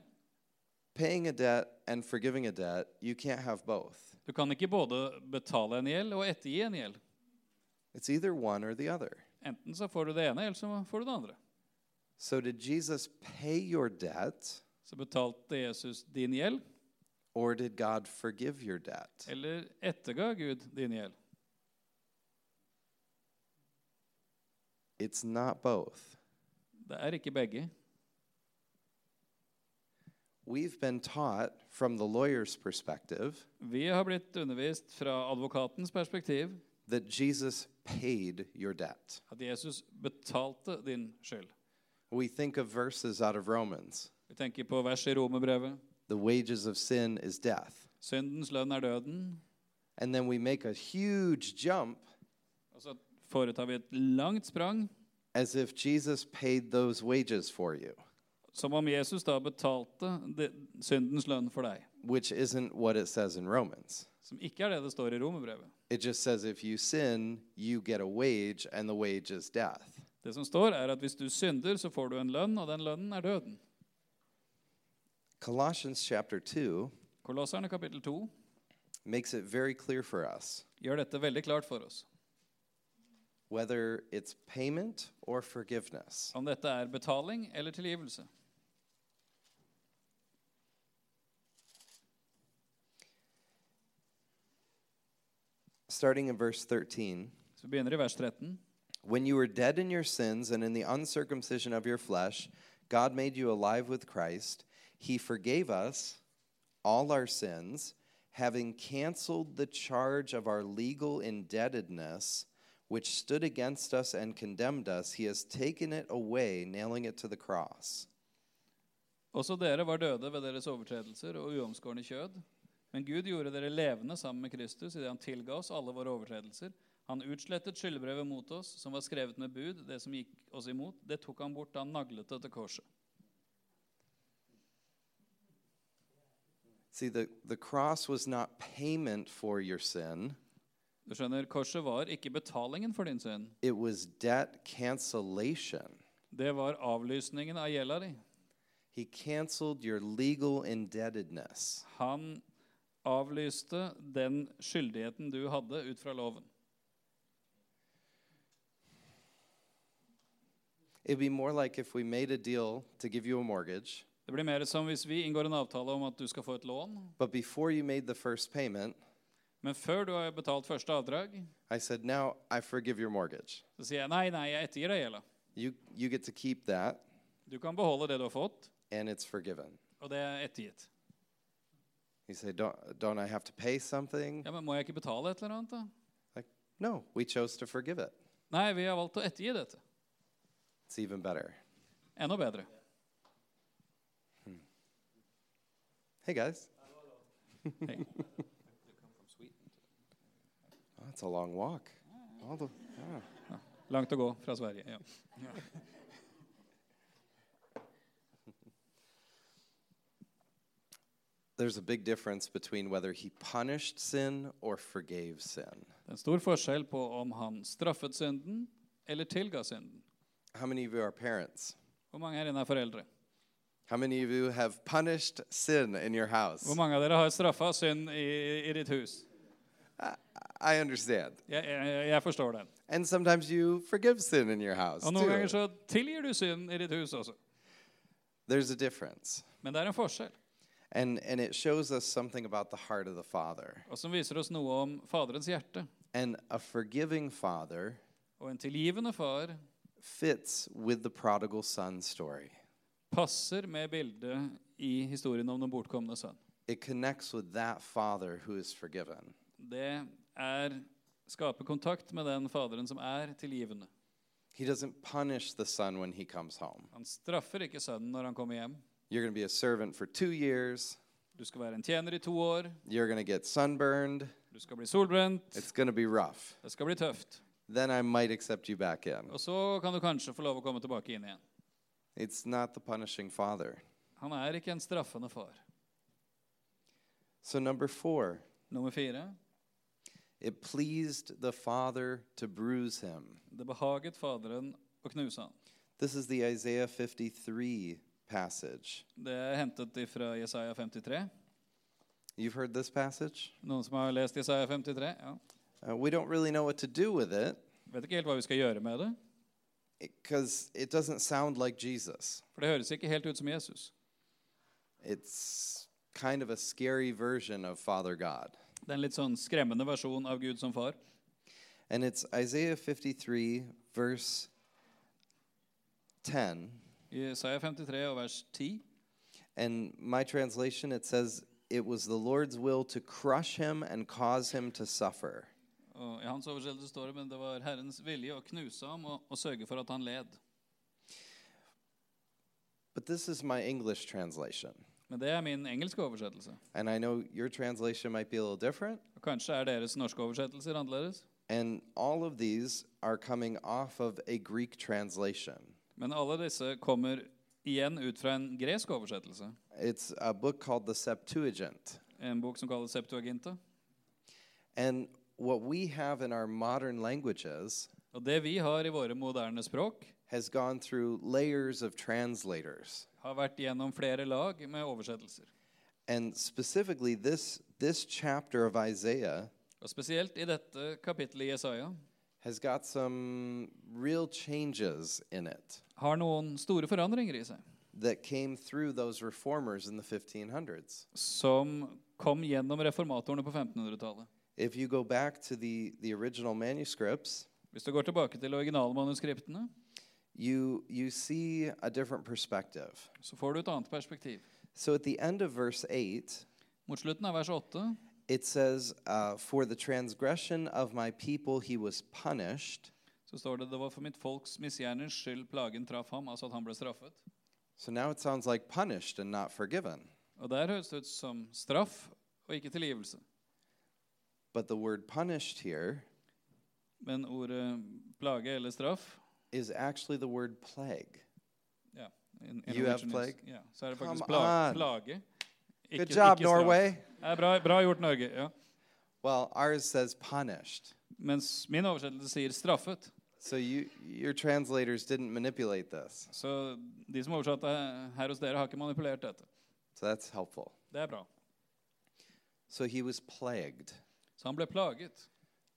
[SPEAKER 2] Paying a debt and forgiving a debt, you can't have both.
[SPEAKER 3] Du kan ikke både betale en gjeld og ettergi en gjeld.
[SPEAKER 2] It's either one or the other.
[SPEAKER 3] Enten så får du det ene, eller så får du det andre.
[SPEAKER 2] So, did Jesus pay your debt
[SPEAKER 3] Så betalte Jesus din gjeld,
[SPEAKER 2] or did God forgive your debt?
[SPEAKER 3] eller etterga Gud din gjeld?
[SPEAKER 2] It's not both.
[SPEAKER 3] Det er ikke begge.
[SPEAKER 2] We've been taught from the lawyer's perspective
[SPEAKER 3] Vi har blitt undervist fra advokatens perspektiv
[SPEAKER 2] that Jesus paid your debt.
[SPEAKER 3] at Jesus betalte din skyld.
[SPEAKER 2] We think of verses out of Romans
[SPEAKER 3] Vi tenker på vers i Romerbrevet.
[SPEAKER 2] the wages of sin is death.
[SPEAKER 3] Syndens lønn er døden.
[SPEAKER 2] And then we make a huge jump
[SPEAKER 3] Og så foretar vi et langt sprang,
[SPEAKER 2] as if Jesus paid those wages for you,
[SPEAKER 3] som om Jesus da betalte de- syndens lønn for deg.
[SPEAKER 2] which isn't what it says in Romans.
[SPEAKER 3] Som ikke er det det står i Romerbrevet.
[SPEAKER 2] It just says if you sin, you get a wage, and the wage is death.
[SPEAKER 3] Det som står, er at hvis du synder, så får du en lønn, og den lønnen er døden.
[SPEAKER 2] Colossians chapter 2
[SPEAKER 3] Kolosserne kapittel 2
[SPEAKER 2] makes it very clear for us
[SPEAKER 3] gjør dette veldig klart for oss.
[SPEAKER 2] whether it's payment or forgiveness.
[SPEAKER 3] Om dette er betaling eller tilgivelse.
[SPEAKER 2] Starting in verse 13
[SPEAKER 3] Så vi begynner i vers 13.
[SPEAKER 2] When you were dead in your sins and in the uncircumcision of your flesh, God made you alive with Christ. He forgave us all our sins, having canceled the charge of our legal indebtedness, which stood against us and condemned us, he has taken it away, nailing it to the cross.
[SPEAKER 3] Også dere var døde ved deres overtredelser og uomskårne kjød. Men Gud gjorde dere levende sammen med Kristus idet han tilga oss alle våre overtredelser. Han utslettet skyldbrevet mot oss, som var skrevet med bud, det som gikk oss imot. Det tok han bort da han naglet det til korset.
[SPEAKER 2] See, the, the cross was not payment for your sin,
[SPEAKER 3] Du skjønner, Korset var ikke betalingen for din synd.
[SPEAKER 2] it was debt cancellation.
[SPEAKER 3] Det var avlysningen av gjelda di.
[SPEAKER 2] He canceled your legal indebtedness.
[SPEAKER 3] Han avlyste den skyldigheten du hadde ut fra loven.
[SPEAKER 2] It'd be more like if we made a deal to give you a mortgage,
[SPEAKER 3] Det blir mer som hvis vi inngår en avtale om at du skal få et lån,
[SPEAKER 2] but before you made the first payment,
[SPEAKER 3] men før du har betalt første avdrag,
[SPEAKER 2] I said, Now I forgive your mortgage.
[SPEAKER 3] så sier jeg nei, nei, jeg ettergir deg gjelda.
[SPEAKER 2] You, you get to keep that,
[SPEAKER 3] Du kan beholde det du har fått,
[SPEAKER 2] and it's forgiven.
[SPEAKER 3] og det er ettergitt.
[SPEAKER 2] You say, Don't, don't I have to pay something?
[SPEAKER 3] Ja, men Må jeg ikke betale et eller annet, da?
[SPEAKER 2] Like, no, we chose to forgive it.
[SPEAKER 3] Nei, vi har valgt å ettergi dette.
[SPEAKER 2] It's even better.
[SPEAKER 3] Enda bedre.
[SPEAKER 2] Hey, guys. [LAUGHS]
[SPEAKER 3] Hey.
[SPEAKER 2] Oh, it's a long walk. All the, yeah.
[SPEAKER 3] Langt å gå fra Sverige. ja.
[SPEAKER 2] There's a big difference between whether he punished sin or forgave sin.
[SPEAKER 3] Det er en stor forskjell på om han straffet synden eller tilga synden.
[SPEAKER 2] How many of you are parents?
[SPEAKER 3] Hvor mange her inne er foreldre?
[SPEAKER 2] How many of you have punished sin in your house?
[SPEAKER 3] Hvor mange av dere har straffa synd i, i ditt hus?
[SPEAKER 2] I understand.
[SPEAKER 3] Jeg, jeg, jeg forstår den.
[SPEAKER 2] And sometimes you forgive sin in your house.
[SPEAKER 3] Og noen ganger
[SPEAKER 2] Too.
[SPEAKER 3] så tilgir du synd i ditt hus også.
[SPEAKER 2] There's a difference.
[SPEAKER 3] Men det er en forskjell,
[SPEAKER 2] And, and it shows us something about the heart of the Father.
[SPEAKER 3] og som viser oss noe om Faderens hjerte.
[SPEAKER 2] And a forgiving Father
[SPEAKER 3] Og en tilgivende far
[SPEAKER 2] fits with the prodigal son story,
[SPEAKER 3] passer med bildet i historien om den bortkomne sønn.
[SPEAKER 2] it connects with that Father who is forgiven.
[SPEAKER 3] Det er skape kontakt med den Faderen som er tilgivende.
[SPEAKER 2] He doesn't punish the son when he comes home.
[SPEAKER 3] Han straffer ikke sønnen når han kommer hjem.
[SPEAKER 2] You're going to be a servant for two years.
[SPEAKER 3] Du skal være en tjener i to år.
[SPEAKER 2] You're going to get sunburned.
[SPEAKER 3] Du skal bli solbrent.
[SPEAKER 2] It's going to be rough.
[SPEAKER 3] Det skal bli tøft.
[SPEAKER 2] Then I might accept you back in.
[SPEAKER 3] Og så kan du kanskje få lov å komme tilbake inn igjen.
[SPEAKER 2] It's not the punishing father.
[SPEAKER 3] Han er ikke en straffende far.
[SPEAKER 2] So, number four,
[SPEAKER 3] Nummer fire.
[SPEAKER 2] it pleased the father to bruise him.
[SPEAKER 3] Det behaget Faderen å knuse han.
[SPEAKER 2] This is the Isaiah 53 passage.
[SPEAKER 3] Det er hentet fra Jesaja 53.
[SPEAKER 2] You've heard this passage?
[SPEAKER 3] Noen som har lest Jesaja 53? Ja.
[SPEAKER 2] Uh, we don't really know what to do with it
[SPEAKER 3] Vet ikke helt hva vi skal gjøre med det,
[SPEAKER 2] because it doesn't sound like Jesus.
[SPEAKER 3] for det høres ikke helt ut som Jesus.
[SPEAKER 2] It's kind of a scary version of Father God.
[SPEAKER 3] Det er en litt sånn skremmende versjon av Gud som far.
[SPEAKER 2] And it's Isaiah 53, verse 10.
[SPEAKER 3] Jesaja 53 og vers 10.
[SPEAKER 2] And my translation, it says, It was the Lord's will to crush him and cause him to suffer.
[SPEAKER 3] Og I hans oversettelse står det, men det var Herrens vilje å knuse ham og, og sørge for at han led.
[SPEAKER 2] But this is my English translation.
[SPEAKER 3] Men det er min engelske oversettelse.
[SPEAKER 2] And I know your translation might be a little different.
[SPEAKER 3] Og kanskje er deres norske oversettelser annerledes.
[SPEAKER 2] And all of these are coming off of a Greek translation.
[SPEAKER 3] Men alle disse kommer igjen ut fra en gresk oversettelse.
[SPEAKER 2] It's a book called the Septuagint.
[SPEAKER 3] En bok som kalles Septuaginta.
[SPEAKER 2] And what we have in our modern languages
[SPEAKER 3] Og det vi har i våre moderne språk,
[SPEAKER 2] has gone through layers of translators.
[SPEAKER 3] har vært gjennom flere lag med oversettelser.
[SPEAKER 2] And specifically, this, this chapter of Isaiah
[SPEAKER 3] Og spesielt i dette kapittelet i Jesaja
[SPEAKER 2] has got some real changes in it
[SPEAKER 3] har noen store forandringer i seg,
[SPEAKER 2] that came through those reformers in the 1500s.
[SPEAKER 3] som kom gjennom reformatorene på 1500-tallet.
[SPEAKER 2] If you go back to the, the original manuscripts,
[SPEAKER 3] Hvis du går tilbake til originalmanuskriptene,
[SPEAKER 2] you, you see a different perspective.
[SPEAKER 3] så får du et annet perspektiv.
[SPEAKER 2] So at the end of verse 8,
[SPEAKER 3] Mot slutten av vers 8
[SPEAKER 2] It says, uh, For the transgression of my people he was punished.
[SPEAKER 3] Så står det det var for mitt folks misgjernings skyld plagen traff ham, altså at han ble straffet.
[SPEAKER 2] So now it sounds like punished and not forgiven.
[SPEAKER 3] Og der høres det ut som straff og ikke tilgivelse.
[SPEAKER 2] But the word punished here
[SPEAKER 3] Men ordet plage eller straff
[SPEAKER 2] is actually the word plague.
[SPEAKER 3] ja, in- in
[SPEAKER 2] You have
[SPEAKER 3] Norwegian is-
[SPEAKER 2] plague?
[SPEAKER 3] Ja, så er det
[SPEAKER 2] Come
[SPEAKER 3] faktisk pla
[SPEAKER 2] on.
[SPEAKER 3] plage. Ikke,
[SPEAKER 2] Good job,
[SPEAKER 3] ikke straff.
[SPEAKER 2] Norway.
[SPEAKER 3] Ja, bra, bra gjort, Norge. ja.
[SPEAKER 2] Well, ours says punished.
[SPEAKER 3] Mens min oversettelse sier 'straffet'.
[SPEAKER 2] So you, your translators didn't manipulate this.
[SPEAKER 3] Så de som oversatte her hos dere, har ikke manipulert dette.
[SPEAKER 2] So that's helpful.
[SPEAKER 3] Det er bra.
[SPEAKER 2] So he was plagued.
[SPEAKER 3] Så han ble plaget.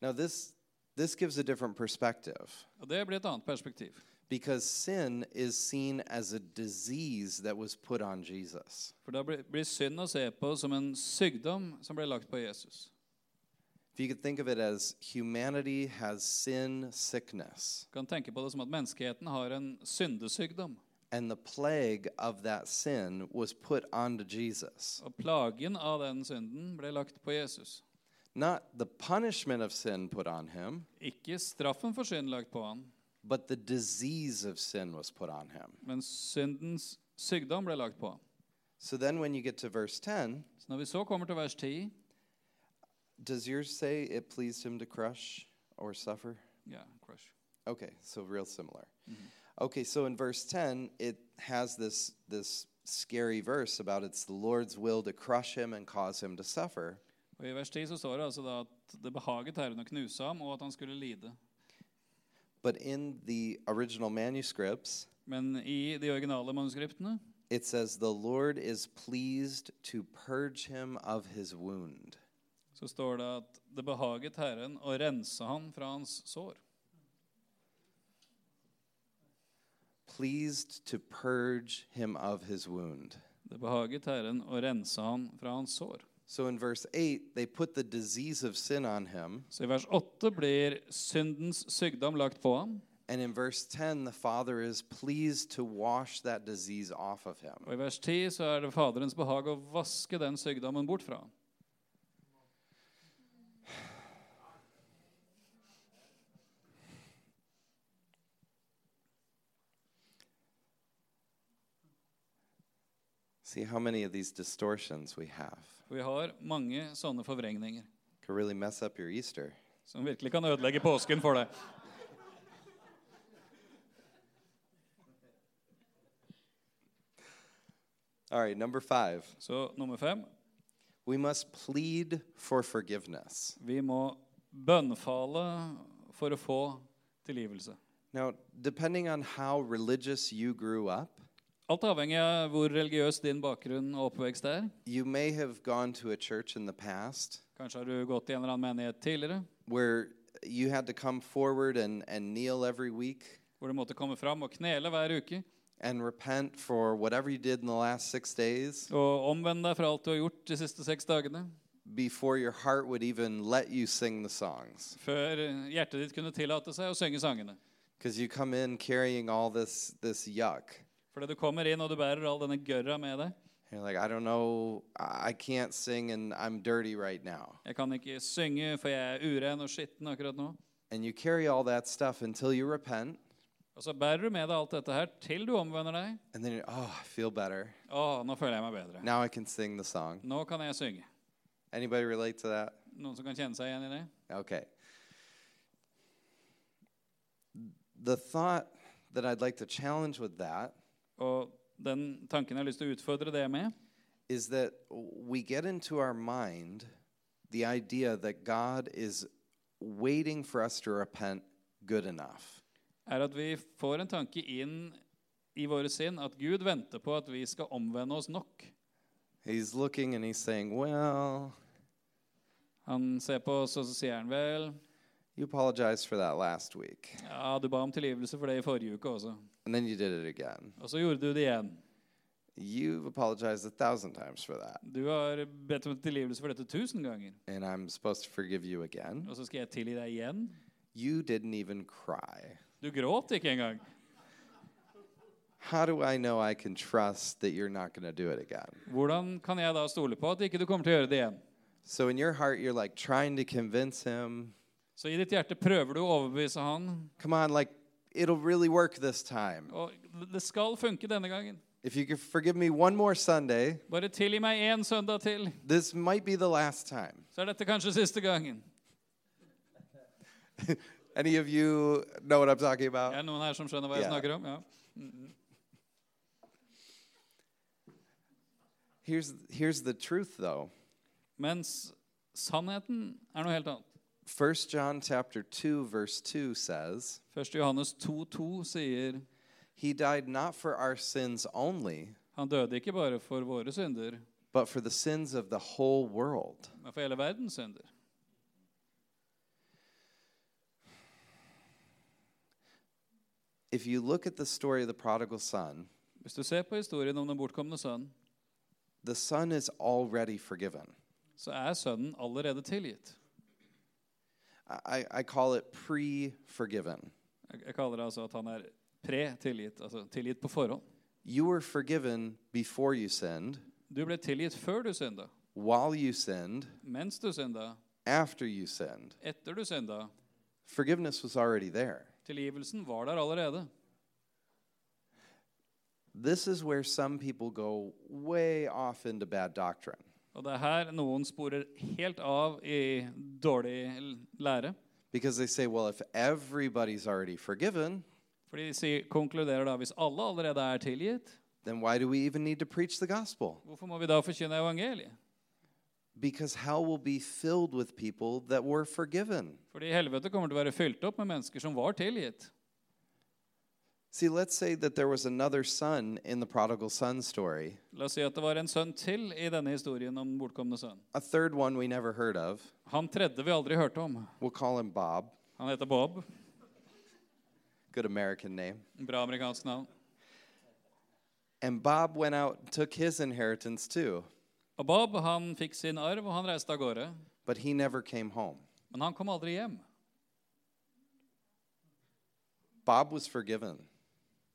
[SPEAKER 2] Now this this gives a different perspective
[SPEAKER 3] Og det blir et annet perspektiv.
[SPEAKER 2] because sin is seen as a disease that was put on Jesus.
[SPEAKER 3] For da blir, blir synd å se på som en sykdom som ble lagt på Jesus.
[SPEAKER 2] If you could think of it as humanity has sin sickness,
[SPEAKER 3] Du kan tenke på det som at menneskeheten har en syndesykdom.
[SPEAKER 2] and the plague of that sin was put onto Jesus.
[SPEAKER 3] Og plagen av den synden ble lagt på Jesus.
[SPEAKER 2] Not the punishment of sin put on him,
[SPEAKER 3] Ikke straffen for synd lagt på han,
[SPEAKER 2] but the disease of sin was put on him.
[SPEAKER 3] men syndens sykdom ble lagt på han.
[SPEAKER 2] So then when you get to verse 10,
[SPEAKER 3] Så når vi så kommer til vers 10
[SPEAKER 2] does yours say it pleased him to crush or suffer?
[SPEAKER 3] ja, crush.
[SPEAKER 2] Okay, so real similar. Okay, so in verse 10, it has this this scary verse about it's the Lord's will to crush him and cause him to suffer.
[SPEAKER 3] Og I vers 10 så står det altså da at det behaget Herren å knuse ham, og at han skulle lide.
[SPEAKER 2] But in the original manuscripts,
[SPEAKER 3] Men i de originale manuskriptene
[SPEAKER 2] it says the Lord is pleased to purge him of his wound.
[SPEAKER 3] så står det at det behaget Herren å rense ham fra hans sår.
[SPEAKER 2] Pleased to purge him of his wound.
[SPEAKER 3] Det behaget Herren å rense ham fra hans sår.
[SPEAKER 2] So in verse 8, they put the disease of sin on him,
[SPEAKER 3] Så i vers 8 blir syndens sykdom lagt på ham.
[SPEAKER 2] and in verse 10, the Father is pleased to wash that disease off of him.
[SPEAKER 3] Og i vers 10 så er det Faderens behag å vaske den sykdommen bort fra ham.
[SPEAKER 2] See how many of these distortions we have.
[SPEAKER 3] For vi har mange sånne forvrengninger
[SPEAKER 2] Could really mess up your Easter.
[SPEAKER 3] som virkelig kan ødelegge påsken for deg.
[SPEAKER 2] All right, number five.
[SPEAKER 3] Så nummer fem
[SPEAKER 2] We must plead for forgiveness.
[SPEAKER 3] Vi må bønnfale for å få tilgivelse.
[SPEAKER 2] Now, depending on how religious you grew up,
[SPEAKER 3] Alt avhengig av hvor religiøs din bakgrunn og oppvekst er.
[SPEAKER 2] you may have gone to a church in the past
[SPEAKER 3] Kanskje har du gått i en eller annen menighet tidligere
[SPEAKER 2] where you had to come forward and, and kneel every week
[SPEAKER 3] hvor du måtte komme fram og knele hver uke
[SPEAKER 2] and repent for whatever you did in the last six days
[SPEAKER 3] og omvende deg fra alt du har gjort de siste seks dagene,
[SPEAKER 2] before your heart would even let you sing the songs.
[SPEAKER 3] før hjertet ditt kunne tillate seg å synge sangene.
[SPEAKER 2] Because you come in carrying all this, this yuck.
[SPEAKER 3] Fordi du kommer inn og du bærer all denne gørra med deg.
[SPEAKER 2] You're like, I don't know, I I can't sing and I'm dirty right now.
[SPEAKER 3] Jeg kan ikke synge, for jeg er uren og skitten akkurat nå.
[SPEAKER 2] And you carry all that stuff until you repent,
[SPEAKER 3] Og så bærer du med deg alt dette her til du omvender deg.
[SPEAKER 2] and then you're, oh, I feel better.
[SPEAKER 3] Å, nå føler jeg meg bedre.
[SPEAKER 2] Now I can sing the song.
[SPEAKER 3] Nå kan jeg synge.
[SPEAKER 2] Anybody relate to that?
[SPEAKER 3] Noen som kan kjenne seg igjen i det?
[SPEAKER 2] Okay. The thought that I'd like to challenge with that
[SPEAKER 3] Og den tanken jeg har lyst til å utfordre det med,
[SPEAKER 2] is that we get into our mind the idea that God is waiting for us to repent good enough.
[SPEAKER 3] er at vi får en tanke inn i våre sinn at Gud venter på at vi skal omvende oss nok.
[SPEAKER 2] He's looking and he's saying, Well,
[SPEAKER 3] Han ser på oss, og så sier han vel
[SPEAKER 2] You apologized for that last week,
[SPEAKER 3] Ja, du ba om tilgivelse for det i forrige uke også.
[SPEAKER 2] and then you did it again.
[SPEAKER 3] Og så gjorde du det igjen.
[SPEAKER 2] You've apologized a thousand times for that,
[SPEAKER 3] Du har bedt om tilgivelse for dette tusen ganger.
[SPEAKER 2] and I'm supposed to forgive you again.
[SPEAKER 3] Og så skal jeg tilgi deg igjen?
[SPEAKER 2] You didn't even cry.
[SPEAKER 3] Du gråt ikke engang.
[SPEAKER 2] How do I know I can trust that you're not going to do it again?
[SPEAKER 3] Hvordan kan jeg da stole på at ikke du kommer til å gjøre det igjen?
[SPEAKER 2] So in your heart, you're like trying to convince him,
[SPEAKER 3] Så i ditt hjerte prøver du å overbevise han.
[SPEAKER 2] come on, like it'll really work this time.
[SPEAKER 3] Og det skal funke denne gangen.
[SPEAKER 2] If you could forgive me one more Sunday,
[SPEAKER 3] Bare tilgi meg én søndag til,
[SPEAKER 2] this might be the last time.
[SPEAKER 3] så er dette kanskje siste gangen.
[SPEAKER 2] Any of you know what I'm talking about?
[SPEAKER 3] Er det noen her som skjønner hva jeg
[SPEAKER 2] Ja.
[SPEAKER 3] snakker om? Ja.
[SPEAKER 2] Here's here's the truth though.
[SPEAKER 3] Mens sannheten er noe helt annet.
[SPEAKER 2] 1 John chapter 2 verse 2 says,
[SPEAKER 3] 1. Johannes 2,2 sier
[SPEAKER 2] "He died not for our sins only,
[SPEAKER 3] han døde ikke bare for våre synder,
[SPEAKER 2] but for the sins of the whole world."
[SPEAKER 3] men for hele verdens synder.
[SPEAKER 2] If you look at the story of the prodigal son,
[SPEAKER 3] Hvis du ser på historien om den bortkomne sønnen,
[SPEAKER 2] the son is already forgiven.
[SPEAKER 3] så er sønnen allerede tilgitt.
[SPEAKER 2] I, I call it pre-forgiven.
[SPEAKER 3] Jeg jeg kaller det altså at han er pre-tilgitt, altså tilgitt på forhånd.
[SPEAKER 2] You were forgiven before you sinned,
[SPEAKER 3] Du ble tilgitt før du synda,
[SPEAKER 2] while you sinned,
[SPEAKER 3] mens du synda,
[SPEAKER 2] after you sinned.
[SPEAKER 3] etter du synda.
[SPEAKER 2] Forgiveness was already there.
[SPEAKER 3] Tilgivelsen var der allerede.
[SPEAKER 2] This is where some people go way off into bad doctrine.
[SPEAKER 3] Og det er her noen sporer helt av i dårlig l- lære.
[SPEAKER 2] Because they say, well, if everybody's already forgiven,
[SPEAKER 3] For de sier, konkluderer da hvis alle allerede er tilgitt,
[SPEAKER 2] then why do we even need to preach the gospel?
[SPEAKER 3] hvorfor må vi da forkynne evangeliet?
[SPEAKER 2] Because hell will be filled with people that were forgiven.
[SPEAKER 3] Fordi helvete kommer til å være fylt opp med mennesker som var tilgitt.
[SPEAKER 2] See, let's say that there was another son in the prodigal son story,
[SPEAKER 3] La oss si at det var en sønn til i denne historien om den bortkomne sønnen.
[SPEAKER 2] a third one we never heard of.
[SPEAKER 3] Han tredje vi aldri hørte om.
[SPEAKER 2] We'll call him Bob,
[SPEAKER 3] Han heter Bob.
[SPEAKER 2] good American name.
[SPEAKER 3] Bra amerikansk navn.
[SPEAKER 2] And Bob went out and took his inheritance too,
[SPEAKER 3] Og Bob han fikk sin arv, og han reiste av gårde.
[SPEAKER 2] but he never came home.
[SPEAKER 3] Men han kom aldri hjem.
[SPEAKER 2] Bob was forgiven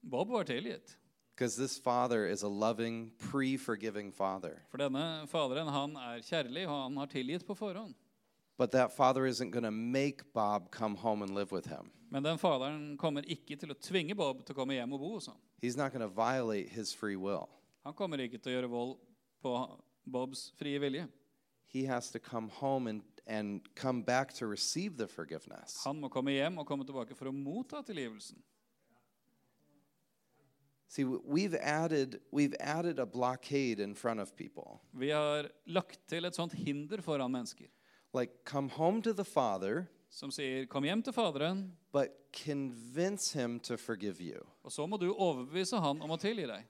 [SPEAKER 3] Bob var tilgitt.
[SPEAKER 2] because this father is a loving, pre forgiving father.
[SPEAKER 3] For denne faderen han er kjærlig, og han har tilgitt på forhånd.
[SPEAKER 2] But that father isn't going to make Bob come home and live with him.
[SPEAKER 3] Men den faderen kommer ikke til å tvinge Bob til å komme hjem og bo hos ham.
[SPEAKER 2] He's not going to violate his free will.
[SPEAKER 3] Han kommer ikke til å gjøre vold på Bobs frie vilje.
[SPEAKER 2] He has to come home and, and come back to receive the forgiveness.
[SPEAKER 3] Han må komme hjem og komme tilbake for å motta tilgivelsen.
[SPEAKER 2] See, w- we've added, we've added a blockade in front of people.
[SPEAKER 3] Vi har lagt til et sånt hinder foran mennesker
[SPEAKER 2] Like, come home to the father,
[SPEAKER 3] som sier 'kom hjem til faderen',
[SPEAKER 2] but convince him to forgive you.
[SPEAKER 3] og så må du overbevise han om å tilgi deg.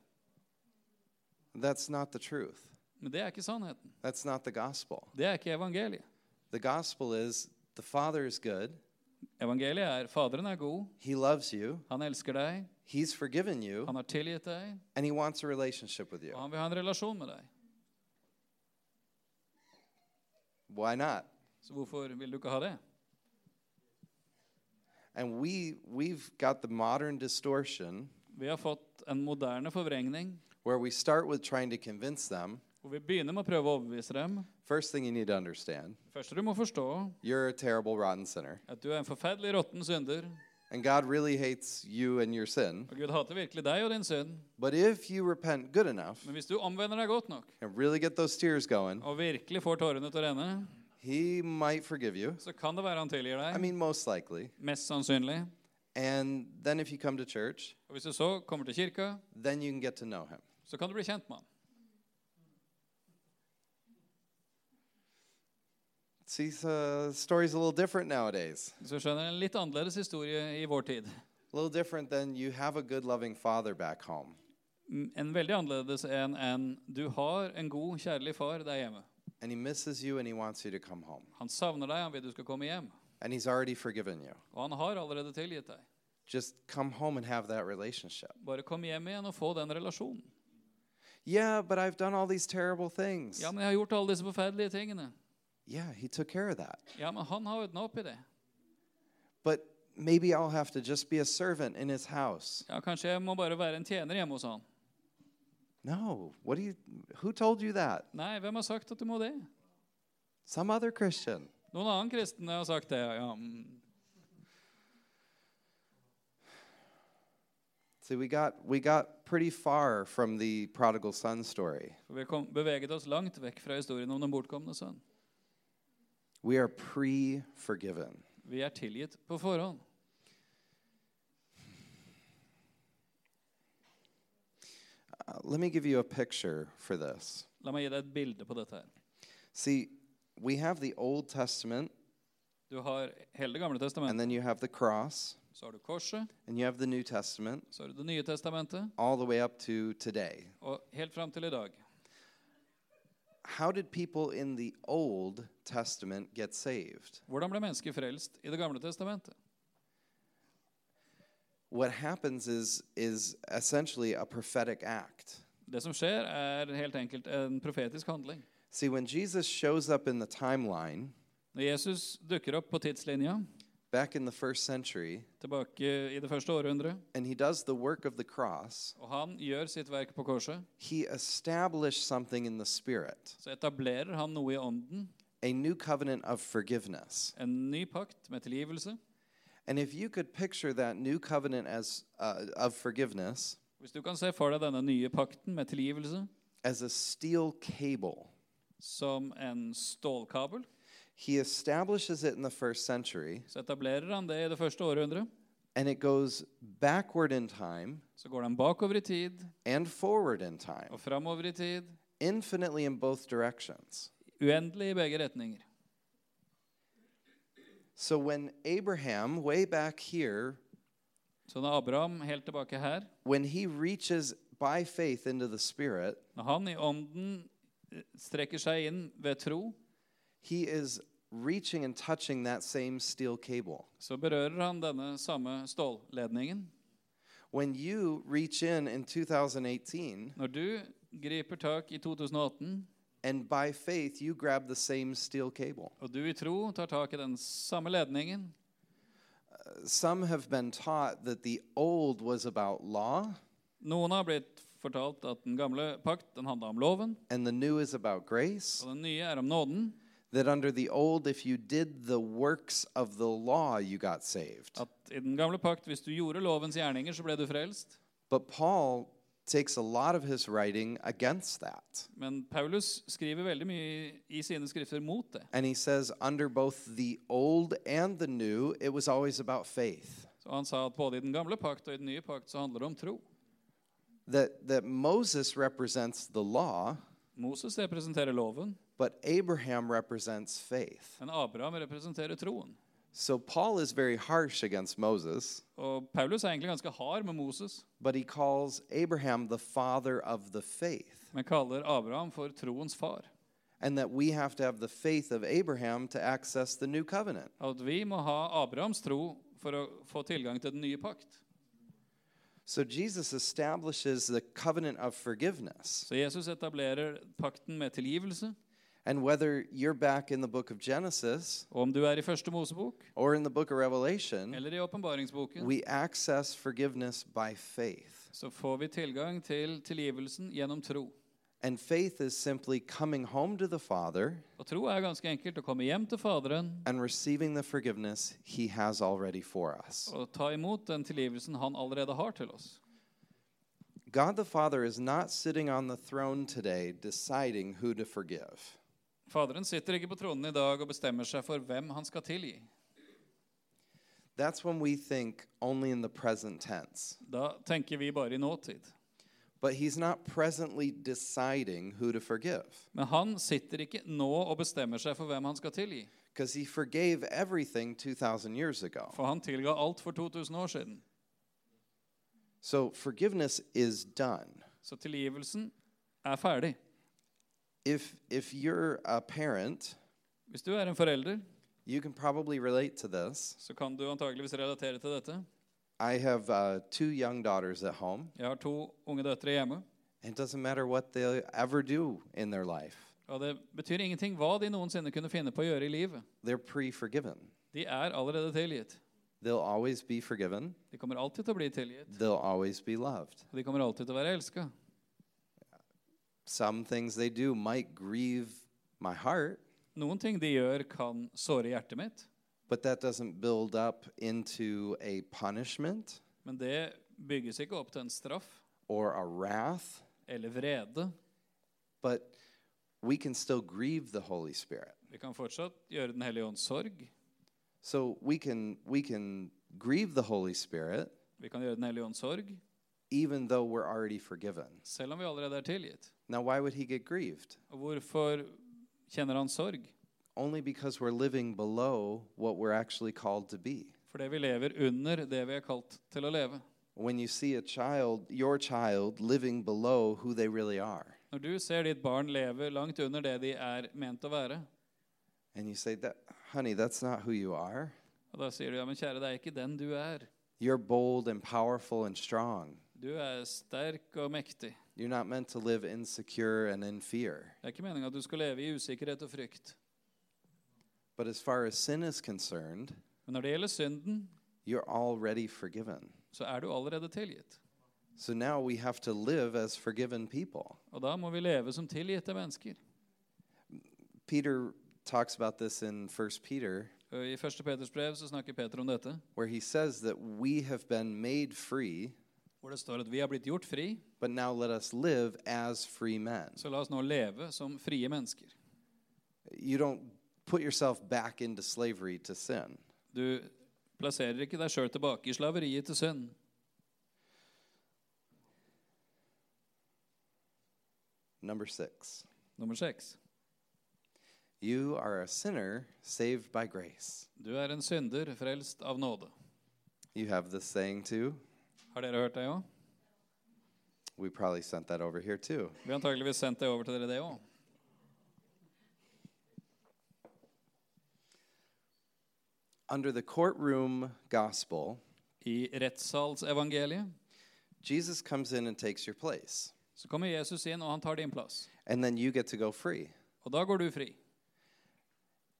[SPEAKER 2] That's not the truth.
[SPEAKER 3] Men det er ikke sannheten.
[SPEAKER 2] That's not the gospel.
[SPEAKER 3] Det er ikke evangeliet.
[SPEAKER 2] The gospel is the father is good,
[SPEAKER 3] Evangeliet er faderen er god,
[SPEAKER 2] he loves you,
[SPEAKER 3] han elsker deg,
[SPEAKER 2] he's forgiven you,
[SPEAKER 3] han har tilgitt deg,
[SPEAKER 2] and he wants a relationship with you.
[SPEAKER 3] og han vil ha en relasjon med deg.
[SPEAKER 2] Why not?
[SPEAKER 3] Så hvorfor vil du ikke ha det?
[SPEAKER 2] And we we've got the modern distortion
[SPEAKER 3] Vi har fått en moderne forvrengning
[SPEAKER 2] where we start with trying to convince them.
[SPEAKER 3] Og vi begynner med å prøve å overbevise dem.
[SPEAKER 2] First thing you need to understand,
[SPEAKER 3] Det første du må forstå,
[SPEAKER 2] you're a terrible rotten sinner.
[SPEAKER 3] er at du er en forferdelig råtten synder.
[SPEAKER 2] And God really hates you and your sin.
[SPEAKER 3] Og Gud hater virkelig deg og din synd.
[SPEAKER 2] But if you repent good enough
[SPEAKER 3] Men hvis du omvender deg godt nok,
[SPEAKER 2] and really get those tears going,
[SPEAKER 3] og virkelig får tårene til å renne,
[SPEAKER 2] he might forgive you.
[SPEAKER 3] så kan det være han tilgir
[SPEAKER 2] I
[SPEAKER 3] deg.
[SPEAKER 2] mean most likely.
[SPEAKER 3] Mest sannsynlig.
[SPEAKER 2] And then if you come to church,
[SPEAKER 3] Og hvis du så kommer til kirka,
[SPEAKER 2] then you can get to know him.
[SPEAKER 3] så kan du bli kjent med han.
[SPEAKER 2] See, so the story's a little different nowadays.
[SPEAKER 3] Så jeg skjønner en litt annerledes historie i vår tid.
[SPEAKER 2] A little different than you have a good loving father back home.
[SPEAKER 3] Mm, En veldig annerledes enn en du har en god, kjærlig far der hjemme.
[SPEAKER 2] And he misses you and he wants you to come home.
[SPEAKER 3] Han savner deg, han vil du skal komme hjem.
[SPEAKER 2] And he's already forgiven you.
[SPEAKER 3] Og han har allerede tilgitt deg.
[SPEAKER 2] Just come home and have that relationship.
[SPEAKER 3] Bare kom hjem igjen og få den relasjonen.
[SPEAKER 2] Yeah, but I've done all these terrible things.
[SPEAKER 3] Ja, men jeg har gjort alle disse forferdelige tingene.
[SPEAKER 2] Yeah, he took care of that.
[SPEAKER 3] Ja, men han har ordna opp i det.
[SPEAKER 2] But maybe I'll have to just be a servant in his house.
[SPEAKER 3] Ja, Kanskje jeg må bare være en tjener hjemme hos han.
[SPEAKER 2] No, what do you who told you that?
[SPEAKER 3] Nei, hvem har sagt at du må det?
[SPEAKER 2] Some other Christian.
[SPEAKER 3] Noen annen kristne har sagt det. ja. mm.
[SPEAKER 2] See, we got, we got pretty far from the prodigal son story.
[SPEAKER 3] For vi kom, beveget oss langt vekk fra historien om den bortkomne sønn.
[SPEAKER 2] We are pre forgiven.
[SPEAKER 3] Vi er tilgitt på forhånd.
[SPEAKER 2] Uh, let me give you a picture for this.
[SPEAKER 3] La meg gi deg et bilde på dette her.
[SPEAKER 2] See, we have the Old Testament,
[SPEAKER 3] Du har hele Det gamle
[SPEAKER 2] and
[SPEAKER 3] testamentet.
[SPEAKER 2] then you have the cross,
[SPEAKER 3] Så har du korset.
[SPEAKER 2] and you have the New Testament,
[SPEAKER 3] Så har du Det nye testamentet.
[SPEAKER 2] all the way up to today.
[SPEAKER 3] Og helt fram til i dag.
[SPEAKER 2] How did people in the Old Testament get saved?
[SPEAKER 3] Hvordan ble mennesket frelst i Det gamle testamentet?
[SPEAKER 2] What happens is, is essentially a prophetic act.
[SPEAKER 3] Det som skjer, er helt enkelt en profetisk handling.
[SPEAKER 2] See, when Jesus shows up in the timeline,
[SPEAKER 3] Når Jesus dukker opp på tidslinja
[SPEAKER 2] back in the first century,
[SPEAKER 3] tilbake i det første århundret,
[SPEAKER 2] and he does the work of the cross,
[SPEAKER 3] og han gjør sitt verk på korset,
[SPEAKER 2] he established something in the spirit,
[SPEAKER 3] så etablerer han noe i ånden,
[SPEAKER 2] a new covenant of forgiveness.
[SPEAKER 3] en ny pakt med tilgivelse.
[SPEAKER 2] And if you could picture that new covenant as uh, of forgiveness
[SPEAKER 3] Hvis du kan se for deg denne nye pakten med tilgivelse
[SPEAKER 2] as a steel cable,
[SPEAKER 3] som en stålkabel,
[SPEAKER 2] he establishes it in the first century,
[SPEAKER 3] så etablerer han det i det første århundret.
[SPEAKER 2] and it goes backward in time
[SPEAKER 3] Så går den bakover i tid
[SPEAKER 2] and forward in time,
[SPEAKER 3] og framover i tid.
[SPEAKER 2] infinitely in both directions.
[SPEAKER 3] Uendelig i begge retninger.
[SPEAKER 2] So when Abraham, way back here,
[SPEAKER 3] Så når Abraham helt tilbake her,
[SPEAKER 2] when he reaches by faith into the spirit,
[SPEAKER 3] når han i ånden eh, strekker seg inn ved tro,
[SPEAKER 2] he is reaching and touching that same steel cable.
[SPEAKER 3] så berører han denne samme stålledningen.
[SPEAKER 2] When you reach in in 2018
[SPEAKER 3] Når du griper tak i 2018,
[SPEAKER 2] and by faith you grab the same steel cable.
[SPEAKER 3] og du i tro tar tak i den samme ledningen
[SPEAKER 2] Some have been taught that the old was about law
[SPEAKER 3] Noen har blitt fortalt at den gamle pakt den handla om loven,
[SPEAKER 2] and the new is about grace,
[SPEAKER 3] og den nye er om nåden.
[SPEAKER 2] that under the old, if you did the works of the law, you got saved.
[SPEAKER 3] At i den gamle pakt, hvis du gjorde lovens gjerninger, så ble du frelst.
[SPEAKER 2] But Paul takes a lot of his writing against that.
[SPEAKER 3] Men Paulus skriver veldig mye i sine skrifter mot det.
[SPEAKER 2] And he says, under both the old and the new, it was always about faith.
[SPEAKER 3] Så Han sa at både i den gamle pakt og i den nye pakt så handler det om tro.
[SPEAKER 2] That, that Moses represents the law,
[SPEAKER 3] Moses representerer loven,
[SPEAKER 2] but Abraham represents faith.
[SPEAKER 3] men Abraham representerer troen.
[SPEAKER 2] So Paul is very harsh against Moses,
[SPEAKER 3] Og Paulus er egentlig ganske hard med Moses,
[SPEAKER 2] but he calls Abraham the father of the faith,
[SPEAKER 3] men kaller Abraham for troens far.
[SPEAKER 2] and that we have to have the faith of Abraham to access the new covenant.
[SPEAKER 3] At vi må ha Abrahams tro for å få tilgang til den nye pakt.
[SPEAKER 2] So Jesus establishes the covenant of forgiveness.
[SPEAKER 3] Så Jesus etablerer pakten med tilgivelse.
[SPEAKER 2] And whether you're back in the book of Genesis
[SPEAKER 3] Og om du er i første Mosebok
[SPEAKER 2] or in the book of Revelation,
[SPEAKER 3] eller i åpenbaringsboken,
[SPEAKER 2] Mm. We access forgiveness by faith.
[SPEAKER 3] så får vi tilgang til tilgivelsen gjennom tro.
[SPEAKER 2] And faith is simply coming home to the Father
[SPEAKER 3] Og tro er ganske enkelt å komme hjem til Faderen
[SPEAKER 2] and receiving the forgiveness He has already for us.
[SPEAKER 3] og ta imot den tilgivelsen han allerede har til oss.
[SPEAKER 2] God the Father is not sitting on the throne today deciding who to forgive.
[SPEAKER 3] Faderen sitter ikke på tronen i dag og bestemmer seg for hvem han skal tilgi.
[SPEAKER 2] That's when we think only in the present tense.
[SPEAKER 3] Da tenker vi bare i nåtid.
[SPEAKER 2] But He's not presently deciding who to forgive
[SPEAKER 3] Men han sitter ikke nå og bestemmer seg for hvem han skal tilgi.
[SPEAKER 2] because He forgave everything 2,000 years ago.
[SPEAKER 3] For han tilga alt for 2000 år siden.
[SPEAKER 2] So forgiveness is done.
[SPEAKER 3] Så tilgivelsen er ferdig.
[SPEAKER 2] If, if you're a parent,
[SPEAKER 3] Hvis du er en forelder,
[SPEAKER 2] You can probably relate to this.
[SPEAKER 3] så kan du antageligvis relatere til dette.
[SPEAKER 2] I have uh, two young daughters at home.
[SPEAKER 3] Jeg har to unge døtre hjemme,
[SPEAKER 2] It doesn't matter what they ever do in their life,
[SPEAKER 3] og det betyr ingenting hva de noensinne kunne finne på å gjøre i livet.
[SPEAKER 2] they're pre forgiven.
[SPEAKER 3] De er allerede tilgitt.
[SPEAKER 2] They'll always be forgiven,
[SPEAKER 3] De kommer alltid til å bli tilgitt,
[SPEAKER 2] they'll always be loved.
[SPEAKER 3] og de kommer alltid til å være elska.
[SPEAKER 2] Some things they do might grieve my heart,
[SPEAKER 3] Noen ting de gjør, kan såre hjertet mitt,
[SPEAKER 2] but that doesn't build up into a punishment
[SPEAKER 3] men det bygges ikke opp til en straff
[SPEAKER 2] or a wrath,
[SPEAKER 3] eller vrede.
[SPEAKER 2] but we can still grieve the Holy Spirit.
[SPEAKER 3] Vi kan fortsatt gjøre Den hellige ånds sorg.
[SPEAKER 2] So we can we can grieve the Holy Spirit
[SPEAKER 3] Vi kan gjøre Den hellige ånds sorg
[SPEAKER 2] even though we're already forgiven.
[SPEAKER 3] selv om vi allerede er tilgitt.
[SPEAKER 2] Now why would he get grieved?
[SPEAKER 3] Og hvorfor kjenner han sorg?
[SPEAKER 2] Only because we're living below what we're actually called to be.
[SPEAKER 3] Fordi vi lever under det vi er kalt til å leve.
[SPEAKER 2] When you see a child, your child living below who they really are,
[SPEAKER 3] Når du ser ditt barn leve langt under det de er ment å være,
[SPEAKER 2] and you say that honey, that's not who you are.
[SPEAKER 3] og da sier du ja, men kjære, det er ikke den du er.
[SPEAKER 2] You're bold and powerful and strong.
[SPEAKER 3] Du er sterk og mektig.
[SPEAKER 2] You're not meant to live insecure and in fear.
[SPEAKER 3] Det er ikke meninga at du skal leve i usikkerhet og frykt.
[SPEAKER 2] But as far as sin is concerned,
[SPEAKER 3] Men når det gjelder synden,
[SPEAKER 2] you're already forgiven.
[SPEAKER 3] så er du allerede tilgitt.
[SPEAKER 2] So now we have to live as forgiven people.
[SPEAKER 3] Og da må vi leve som tilgitte mennesker.
[SPEAKER 2] Peter talks about this in 1 Peter,
[SPEAKER 3] Og I 1. Peters brev så snakker Peter om dette,
[SPEAKER 2] where he says that we have been made free,
[SPEAKER 3] hvor det står at vi har blitt gjort fri,
[SPEAKER 2] but now let us live as free men.
[SPEAKER 3] så la oss nå leve som frie mennesker.
[SPEAKER 2] You don't put yourself back into slavery to sin.
[SPEAKER 3] Du plasserer ikke deg sjøl tilbake i slaveriet til synd.
[SPEAKER 2] Number six,
[SPEAKER 3] Nummer seks.
[SPEAKER 2] you are a sinner saved by grace.
[SPEAKER 3] Du er en synder frelst av nåde.
[SPEAKER 2] You have this saying too.
[SPEAKER 3] Har dere hørt det òg?
[SPEAKER 2] We probably sent that over here too.
[SPEAKER 3] Vi har antakeligvis sendt det over til dere, det òg.
[SPEAKER 2] Under the courtroom gospel,
[SPEAKER 3] I rettssalsevangeliet
[SPEAKER 2] Jesus comes in and takes your place,
[SPEAKER 3] så kommer Jesus inn, og han tar din plass.
[SPEAKER 2] and then you get to go free.
[SPEAKER 3] Og da går du fri.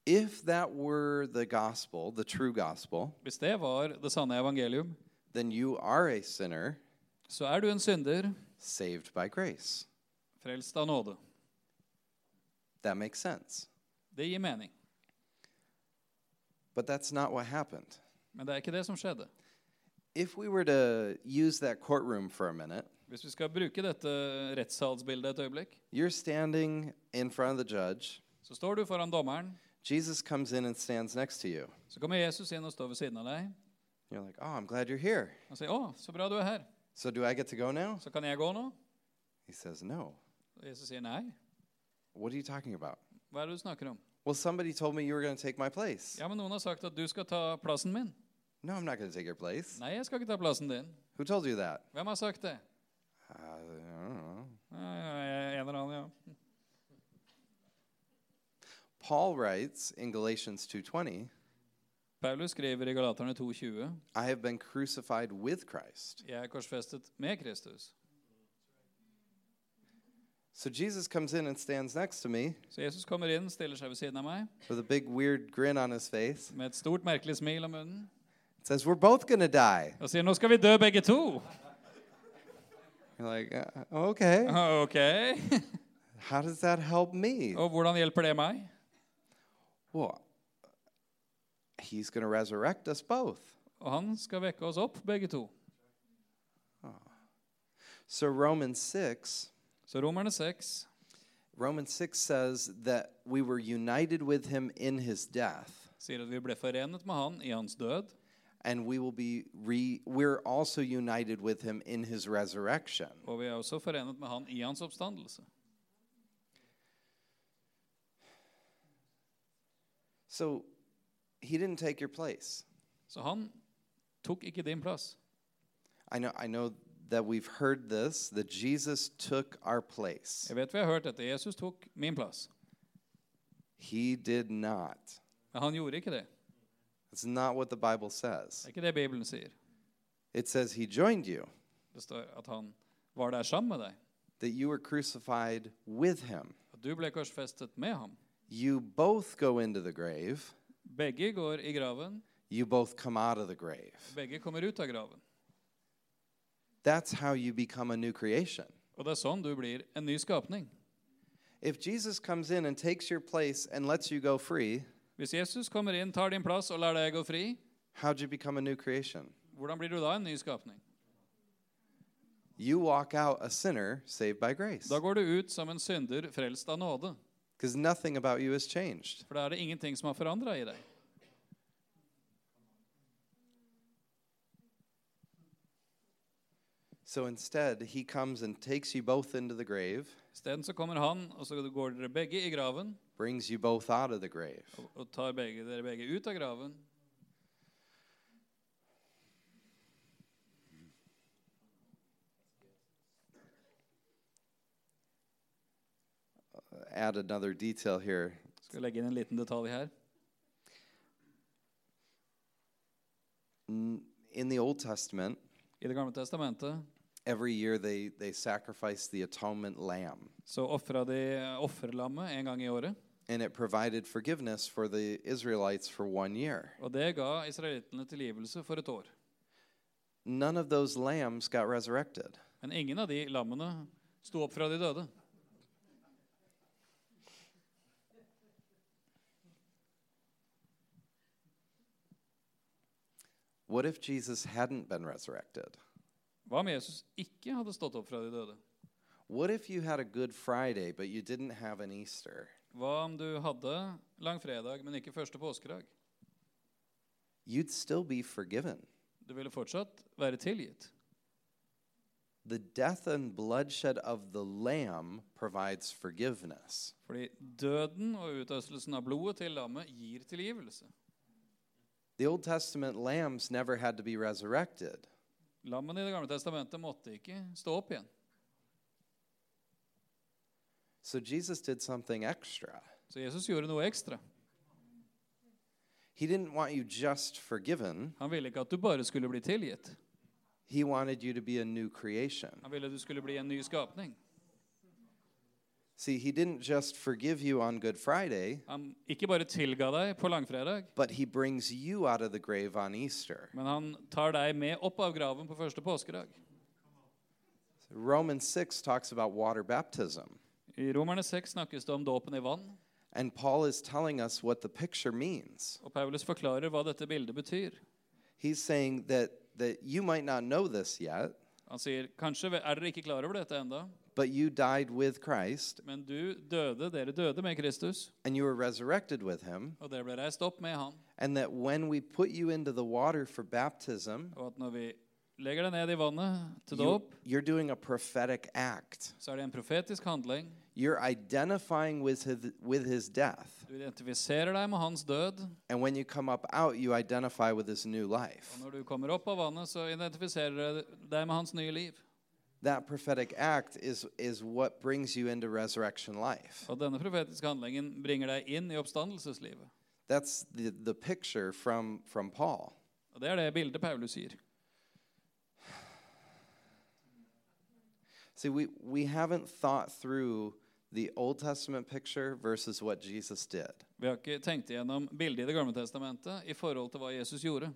[SPEAKER 2] If that were the gospel, the true gospel,
[SPEAKER 3] Hvis det var det sanne evangelium,
[SPEAKER 2] then you are a sinner
[SPEAKER 3] så er du en synder
[SPEAKER 2] saved by grace.
[SPEAKER 3] frelst av nåde.
[SPEAKER 2] That makes sense.
[SPEAKER 3] Det gir mening.
[SPEAKER 2] But that's not what happened.
[SPEAKER 3] Men det er ikke det som skjedde.
[SPEAKER 2] If we were to use that courtroom for a minute,
[SPEAKER 3] Hvis vi skal bruke dette rettssalsbildet et øyeblikk,
[SPEAKER 2] you're standing in front of the judge.
[SPEAKER 3] så står du foran dommeren,
[SPEAKER 2] Jesus comes in and stands next to you.
[SPEAKER 3] så kommer Jesus inn og står ved siden av deg
[SPEAKER 2] You're like, oh, I'm glad you're here.
[SPEAKER 3] og sier 'Å, så bra du er her.
[SPEAKER 2] So do I get to go now?
[SPEAKER 3] Så kan jeg gå nå?'
[SPEAKER 2] He says, no.
[SPEAKER 3] Og Jesus sier nei.
[SPEAKER 2] What are you talking about?
[SPEAKER 3] Hva er det du snakker om?
[SPEAKER 2] Well, somebody told me you were going to take my place.
[SPEAKER 3] Ja, men noen har sagt at du skal ta plassen min.
[SPEAKER 2] No, I'm not going to take your place.
[SPEAKER 3] Nei, jeg skal ikke ta plassen din.
[SPEAKER 2] Who told you that?
[SPEAKER 3] Hvem har sagt det?
[SPEAKER 2] Uh, I don't know.
[SPEAKER 3] Eh, En eller annen, ja.
[SPEAKER 2] Paul writes in Galatians 2:20,
[SPEAKER 3] Paulus skriver i Galaterne 2,20
[SPEAKER 2] I have been crucified with Christ.
[SPEAKER 3] Jeg er korsfestet med Kristus.
[SPEAKER 2] So Jesus comes in and stands next to me
[SPEAKER 3] Så Jesus kommer inn, stiller seg ved siden av meg
[SPEAKER 2] with a big weird grin on his face.
[SPEAKER 3] med et stort, merkelig smil om munnen
[SPEAKER 2] Says, "We're both going to die."
[SPEAKER 3] og sier 'Nå skal vi dø, begge to'.
[SPEAKER 2] You're like, uh, "Okay.
[SPEAKER 3] Ok.
[SPEAKER 2] How does that help me?"
[SPEAKER 3] Og hvordan hjelper det meg?
[SPEAKER 2] Well, he's going to resurrect us both.
[SPEAKER 3] Og han skal vekke oss opp, begge to.
[SPEAKER 2] So Romans 6
[SPEAKER 3] Så Romerne 6
[SPEAKER 2] Romans 6 says that we were united with him in his death.
[SPEAKER 3] sier at vi ble forenet med han i hans død,
[SPEAKER 2] and we will be re- we're also united with him in his resurrection
[SPEAKER 3] og vi er også forenet med han i hans oppstandelse.
[SPEAKER 2] so he didn't take your place
[SPEAKER 3] Så han tok ikke din plass.
[SPEAKER 2] i know i know that we've heard this that jesus took our place
[SPEAKER 3] Jeg vet vi har hørt dette. Jesus tok min plass.
[SPEAKER 2] he did not
[SPEAKER 3] Men han gjorde ikke det.
[SPEAKER 2] that's not what the bible says
[SPEAKER 3] Det er ikke det Bibelen sier.
[SPEAKER 2] it says he joined you
[SPEAKER 3] Det står at han var der sammen med deg.
[SPEAKER 2] that you were crucified with him
[SPEAKER 3] At du ble korsfestet med ham.
[SPEAKER 2] you both go into the grave
[SPEAKER 3] Begge går i graven.
[SPEAKER 2] you both come out of the grave
[SPEAKER 3] Begge kommer ut av graven.
[SPEAKER 2] that's how you become a new creation
[SPEAKER 3] Og det er sånn du blir en ny skapning.
[SPEAKER 2] If Jesus comes in and takes your place and lets you go free,
[SPEAKER 3] Hvis Jesus kommer inn, tar din plass og lar deg gå fri,
[SPEAKER 2] how'd you become a new creation?
[SPEAKER 3] hvordan blir du da en ny skapning?
[SPEAKER 2] You walk out a sinner saved by grace
[SPEAKER 3] Da går du ut som en synder frelst av nåde.
[SPEAKER 2] because nothing about you has changed.
[SPEAKER 3] For da er det ingenting som har forandra i deg.
[SPEAKER 2] So instead, he comes and takes you both into the grave,
[SPEAKER 3] Isteden så kommer han, og så går dere begge i graven.
[SPEAKER 2] brings you both out of the grave.
[SPEAKER 3] Og og tar begge, dere begge ut av graven.
[SPEAKER 2] Add another detail here.
[SPEAKER 3] Skal legge inn en liten detalj her.
[SPEAKER 2] N- In the Old Testament,
[SPEAKER 3] I Det gamle testamentet
[SPEAKER 2] every year they, they sacrifice the atonement lamb,
[SPEAKER 3] så ofra de offerlammet en gang i året.
[SPEAKER 2] and it provided forgiveness for the Israelites for one year.
[SPEAKER 3] Og det ga israelittene tilgivelse for et år.
[SPEAKER 2] None of those lambs got resurrected.
[SPEAKER 3] Men ingen av de lammene sto opp fra de døde.
[SPEAKER 2] What if Jesus hadn't been resurrected?
[SPEAKER 3] Hva om Jesus ikke hadde stått opp fra de døde?
[SPEAKER 2] What if you had a Good Friday, but you didn't have an Easter?
[SPEAKER 3] Hva om du hadde langfredag, men ikke første påskedag?
[SPEAKER 2] You'd still be forgiven.
[SPEAKER 3] Du ville fortsatt være tilgitt.
[SPEAKER 2] The death and bloodshed of the Lamb provides forgiveness.
[SPEAKER 3] Fordi døden og utøstelsen av blodet til lammet gir tilgivelse.
[SPEAKER 2] The Old Testament lambs never had to be resurrected.
[SPEAKER 3] Lammene i Det gamle testamentet måtte ikke stå opp igjen.
[SPEAKER 2] So Jesus did something extra.
[SPEAKER 3] Så Jesus gjorde noe ekstra.
[SPEAKER 2] He didn't want you just forgiven,
[SPEAKER 3] Han ville ikke at du bare skulle bli tilgitt.
[SPEAKER 2] He wanted you to be a new creation.
[SPEAKER 3] Han ville at du skulle bli en ny skapning.
[SPEAKER 2] See, He didn't just forgive you on Good Friday,
[SPEAKER 3] Han ikke bare tilga deg på langfredag,
[SPEAKER 2] but He brings you out of the grave on Easter.
[SPEAKER 3] men han tar deg med opp av graven på første påskedag.
[SPEAKER 2] Romans 6 talks about water baptism.
[SPEAKER 3] I Romerne 6 snakkes det om dåpen i vann,
[SPEAKER 2] And Paul is telling us what the picture means.
[SPEAKER 3] og Paulus forklarer hva dette bildet betyr.
[SPEAKER 2] He's saying that, that you might not know this yet,
[SPEAKER 3] Han sier, kanskje er dere ikke klar over dette enda,
[SPEAKER 2] but you died with Christ
[SPEAKER 3] men du døde, dere døde med Kristus,
[SPEAKER 2] and you were resurrected with him,
[SPEAKER 3] og dere ble reist opp med han,
[SPEAKER 2] and that when we put you into the water for baptism,
[SPEAKER 3] og at når vi legger deg ned i vannet til
[SPEAKER 2] you,
[SPEAKER 3] dåp,
[SPEAKER 2] you're doing a prophetic act.
[SPEAKER 3] så er det en profetisk handling.
[SPEAKER 2] You're identifying with his, with his death.
[SPEAKER 3] Du identifiserer deg med hans død,
[SPEAKER 2] And when you come up out, you identify with his new life.
[SPEAKER 3] og når du kommer opp av vannet, så identifiserer du deg med hans nye liv.
[SPEAKER 2] That prophetic act is, is what brings you into resurrection life.
[SPEAKER 3] Og denne profetiske handlingen bringer deg inn i oppstandelseslivet.
[SPEAKER 2] That's the, the picture from, from Paul.
[SPEAKER 3] Og det er det bildet Paulus gir.
[SPEAKER 2] See, we, we haven't thought through the Old Testament picture versus what Jesus did.
[SPEAKER 3] Vi har ikke tenkt igjennom bildet i Det gamle testamentet i forhold til hva Jesus gjorde.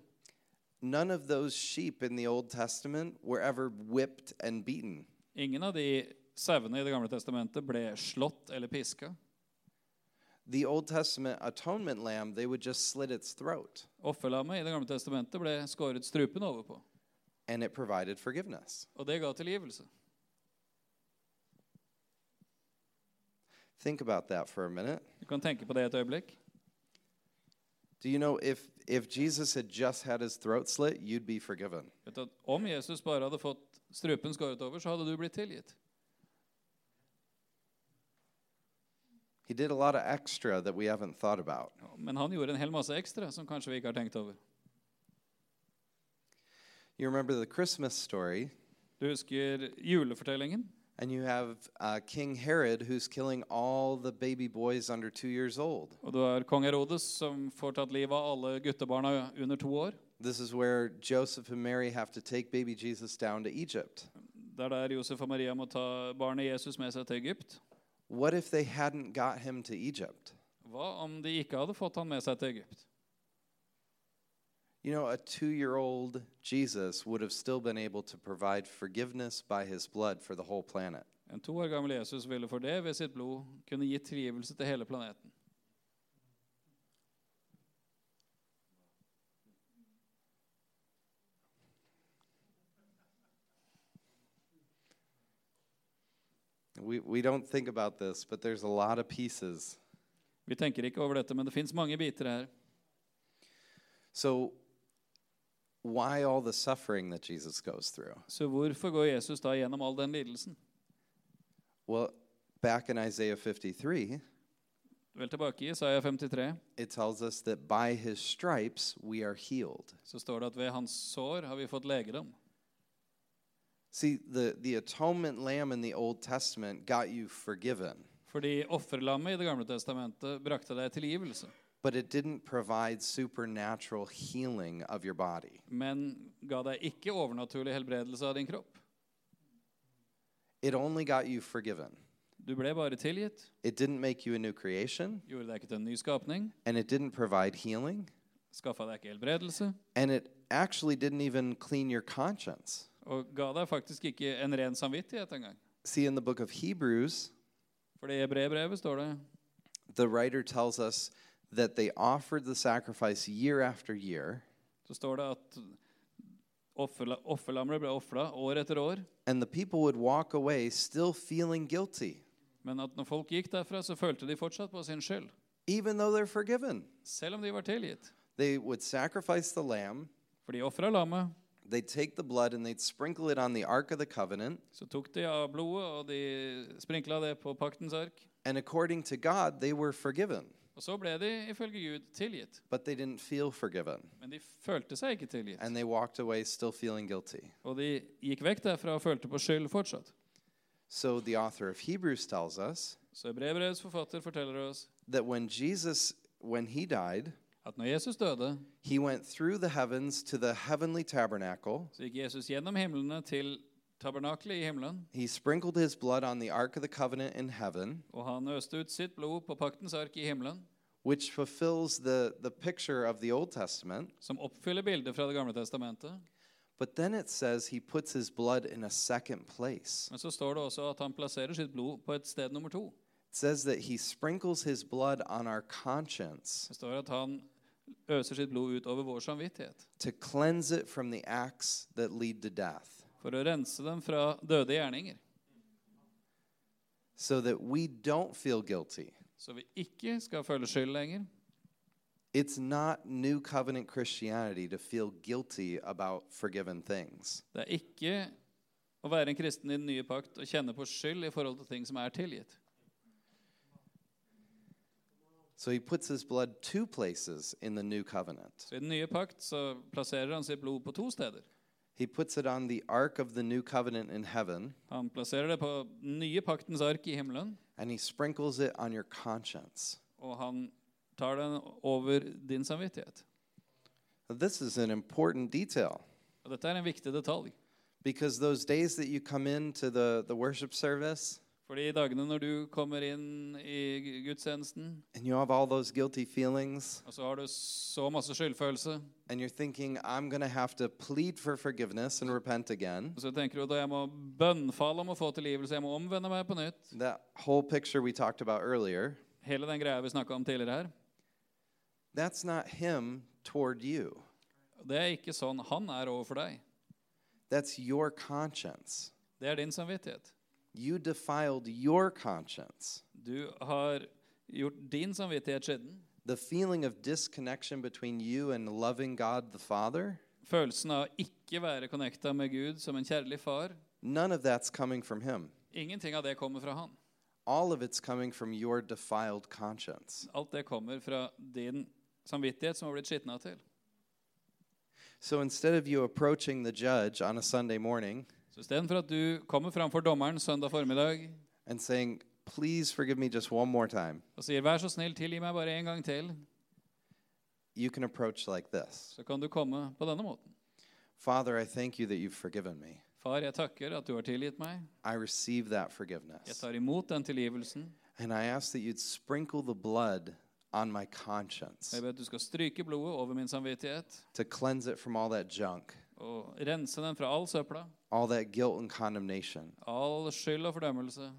[SPEAKER 2] None of those sheep in the Old Testament were ever whipped and beaten.
[SPEAKER 3] Ingen av de sauene i Det gamle testamentet ble slått eller piska.
[SPEAKER 2] The Old Testament atonement lamb, they would just slit its throat,
[SPEAKER 3] Offerlammet i Det gamle testamentet ble skåret strupen over på,
[SPEAKER 2] and it provided forgiveness.
[SPEAKER 3] og det ga tilgivelse.
[SPEAKER 2] Think about that for a minute.
[SPEAKER 3] Du kan tenke på det et øyeblikk.
[SPEAKER 2] Do you know if, if Jesus had just had his throat slit, you'd be forgiven?
[SPEAKER 3] Vet du, at om Jesus bare hadde fått strupen skåret over, så hadde du blitt tilgitt.
[SPEAKER 2] He did a lot of extra that we haven't thought about.
[SPEAKER 3] Men han gjorde en hel masse ekstra som kanskje vi ikke har tenkt over.
[SPEAKER 2] You remember the Christmas story,
[SPEAKER 3] Du husker julefortellingen?
[SPEAKER 2] and you have uh, King Herod who's killing all the baby boys under two years old.
[SPEAKER 3] Og du har kong Herodes som får tatt livet av alle guttebarna under to år.
[SPEAKER 2] This is where Joseph and Mary have to take baby Jesus down to Egypt.
[SPEAKER 3] Det er der Josef og Maria må ta barnet Jesus med seg til Egypt.
[SPEAKER 2] What if they hadn't got him to Egypt?
[SPEAKER 3] Hva om de ikke hadde fått han med seg til Egypt?
[SPEAKER 2] You know, a two year old Jesus would have still been able to provide forgiveness by his blood for the whole planet.
[SPEAKER 3] En to år gammel Jesus ville for det ved sitt blod kunne gi trivelse til hele planeten.
[SPEAKER 2] We, we don't think about this, but there's a lot of pieces.
[SPEAKER 3] Vi tenker ikke over dette, men det fins mange biter her.
[SPEAKER 2] So, why all the suffering that Jesus goes through?
[SPEAKER 3] Så hvorfor går Jesus da gjennom all den lidelsen?
[SPEAKER 2] Well, back in Isaiah 53,
[SPEAKER 3] Vel tilbake i Isaiah 53
[SPEAKER 2] it tells us that by his stripes we are healed.
[SPEAKER 3] så står det at ved hans sår har vi fått legedom.
[SPEAKER 2] See, the, the atonement lamb in the Old Testament got you forgiven,
[SPEAKER 3] Fordi offerlammet i Det gamle testamentet brakte deg tilgivelse,
[SPEAKER 2] but it didn't provide supernatural healing of your body.
[SPEAKER 3] men ga deg ikke overnaturlig helbredelse av din kropp.
[SPEAKER 2] It only got you forgiven.
[SPEAKER 3] Du ble bare tilgitt,
[SPEAKER 2] It didn't make you a new creation,
[SPEAKER 3] gjorde deg ikke til en ny skapning,
[SPEAKER 2] and it didn't provide healing,
[SPEAKER 3] skaffa deg ikke helbredelse
[SPEAKER 2] and it actually didn't even clean your conscience.
[SPEAKER 3] og ga deg faktisk ikke en ren samvittighet engang.
[SPEAKER 2] See, in the book of Hebrews,
[SPEAKER 3] For i Hebreerbrevet står det
[SPEAKER 2] the writer tells us that they offered the sacrifice year after year,
[SPEAKER 3] så står det at offerla- offerlammet ble ofra år etter år,
[SPEAKER 2] and the people would walk away still feeling guilty,
[SPEAKER 3] men at når folk gikk derfra, så følte de fortsatt på sin skyld,
[SPEAKER 2] even though they're forgiven.
[SPEAKER 3] selv om de var tilgitt.
[SPEAKER 2] They would sacrifice the lamb,
[SPEAKER 3] For de ofra lammet,
[SPEAKER 2] they'd take the blood and they'd sprinkle it on the Ark of the Covenant,
[SPEAKER 3] så tok de av blodet, og de sprinkla det på paktens ark.
[SPEAKER 2] and according to God, they were forgiven,
[SPEAKER 3] Og så ble de ifølge Gud tilgitt,
[SPEAKER 2] but they didn't feel forgiven,
[SPEAKER 3] men de følte seg ikke tilgitt.
[SPEAKER 2] and they walked away still feeling guilty.
[SPEAKER 3] Og de gikk vekk derfra og følte på skyld fortsatt.
[SPEAKER 2] So the author of Hebrews tells us
[SPEAKER 3] Så brevbrevets forfatter forteller oss
[SPEAKER 2] that when Jesus, when he died,
[SPEAKER 3] at når Jesus døde,
[SPEAKER 2] he went through the heavens to the heavenly tabernacle.
[SPEAKER 3] så gikk Jesus gjennom himlene til tabernaklet i himmelen,
[SPEAKER 2] He sprinkled his blood on the Ark of the Covenant in heaven,
[SPEAKER 3] og han øste ut sitt blod på paktens ark i himmelen,
[SPEAKER 2] which fulfills the, the picture of the Old Testament.
[SPEAKER 3] som oppfyller bildet fra Det gamle testamentet.
[SPEAKER 2] But then it says he puts his blood in a second place.
[SPEAKER 3] Men så står det også at han plasserer sitt blod på et sted nummer to.
[SPEAKER 2] It says that he sprinkles his blood on our conscience
[SPEAKER 3] Det står at han øser sitt blod ut over vår samvittighet
[SPEAKER 2] to cleanse it from the acts that lead to death,
[SPEAKER 3] for å rense dem fra døde gjerninger,
[SPEAKER 2] so that we don't feel guilty.
[SPEAKER 3] så vi ikke skal føle skyld lenger.
[SPEAKER 2] It's not new covenant Christianity to feel guilty about forgiven things.
[SPEAKER 3] Det er ikke å være en kristen i den nye pakt og kjenne på skyld i forhold til ting som er tilgitt.
[SPEAKER 2] So he puts his blood two places in the new covenant.
[SPEAKER 3] Så I den nye pakt så plasserer han sitt blod på to steder.
[SPEAKER 2] He puts it on the ark of the new covenant in heaven,
[SPEAKER 3] Han plasserer det på den nye paktens ark i himmelen,
[SPEAKER 2] and he sprinkles it on your conscience.
[SPEAKER 3] og han tar den over din samvittighet.
[SPEAKER 2] This is an important detail
[SPEAKER 3] Og Dette er en viktig detalj.
[SPEAKER 2] because those days that you come into the, the worship service
[SPEAKER 3] Fordi i dagene når du kommer inn i gudstjenesten,
[SPEAKER 2] and you have all those guilty feelings
[SPEAKER 3] og så har du så masse skyldfølelse,
[SPEAKER 2] and you're thinking, I'm going to have to plead for forgiveness and repent again,
[SPEAKER 3] og så tenker du at jeg må bønnfalle om å få tilgivelse, jeg må omvende meg på nytt.
[SPEAKER 2] that whole picture we talked about earlier,
[SPEAKER 3] Hele den greia vi snakka om tidligere her.
[SPEAKER 2] that's not him toward you.
[SPEAKER 3] Det er ikke sånn han er overfor deg.
[SPEAKER 2] That's your conscience.
[SPEAKER 3] Det er din samvittighet.
[SPEAKER 2] You defiled your conscience.
[SPEAKER 3] Du har gjort din samvittighet skitten.
[SPEAKER 2] The feeling of disconnection between you and loving God the Father,
[SPEAKER 3] Følelsen av å ikke være connecta med Gud som en kjærlig far.
[SPEAKER 2] none of that's coming from him.
[SPEAKER 3] Ingenting av det kommer fra han.
[SPEAKER 2] All of it's coming from your defiled conscience.
[SPEAKER 3] Alt det kommer fra din samvittighet som har blitt skitna til.
[SPEAKER 2] So instead of you approaching the judge on a Sunday morning
[SPEAKER 3] Så istedenfor at du kommer framfor dommeren søndag formiddag
[SPEAKER 2] and saying, please forgive me just one more time,
[SPEAKER 3] og sier 'vær så snill, tilgi meg bare en gang til',
[SPEAKER 2] you can approach like this
[SPEAKER 3] så kan du komme på denne måten.
[SPEAKER 2] Father, I thank you that you've forgiven me.
[SPEAKER 3] Far, jeg takker at du har tilgitt meg.
[SPEAKER 2] I receive that
[SPEAKER 3] Jeg
[SPEAKER 2] forgiveness.
[SPEAKER 3] tar imot den tilgivelsen.
[SPEAKER 2] And I ask that you'd sprinkle the blood on my conscience
[SPEAKER 3] Jeg ber at du skal stryke blodet over min samvittighet
[SPEAKER 2] to cleanse it from all that junk,
[SPEAKER 3] og rense den fra all søpla,
[SPEAKER 2] all that guilt and condemnation.
[SPEAKER 3] all skyld og fordømmelse.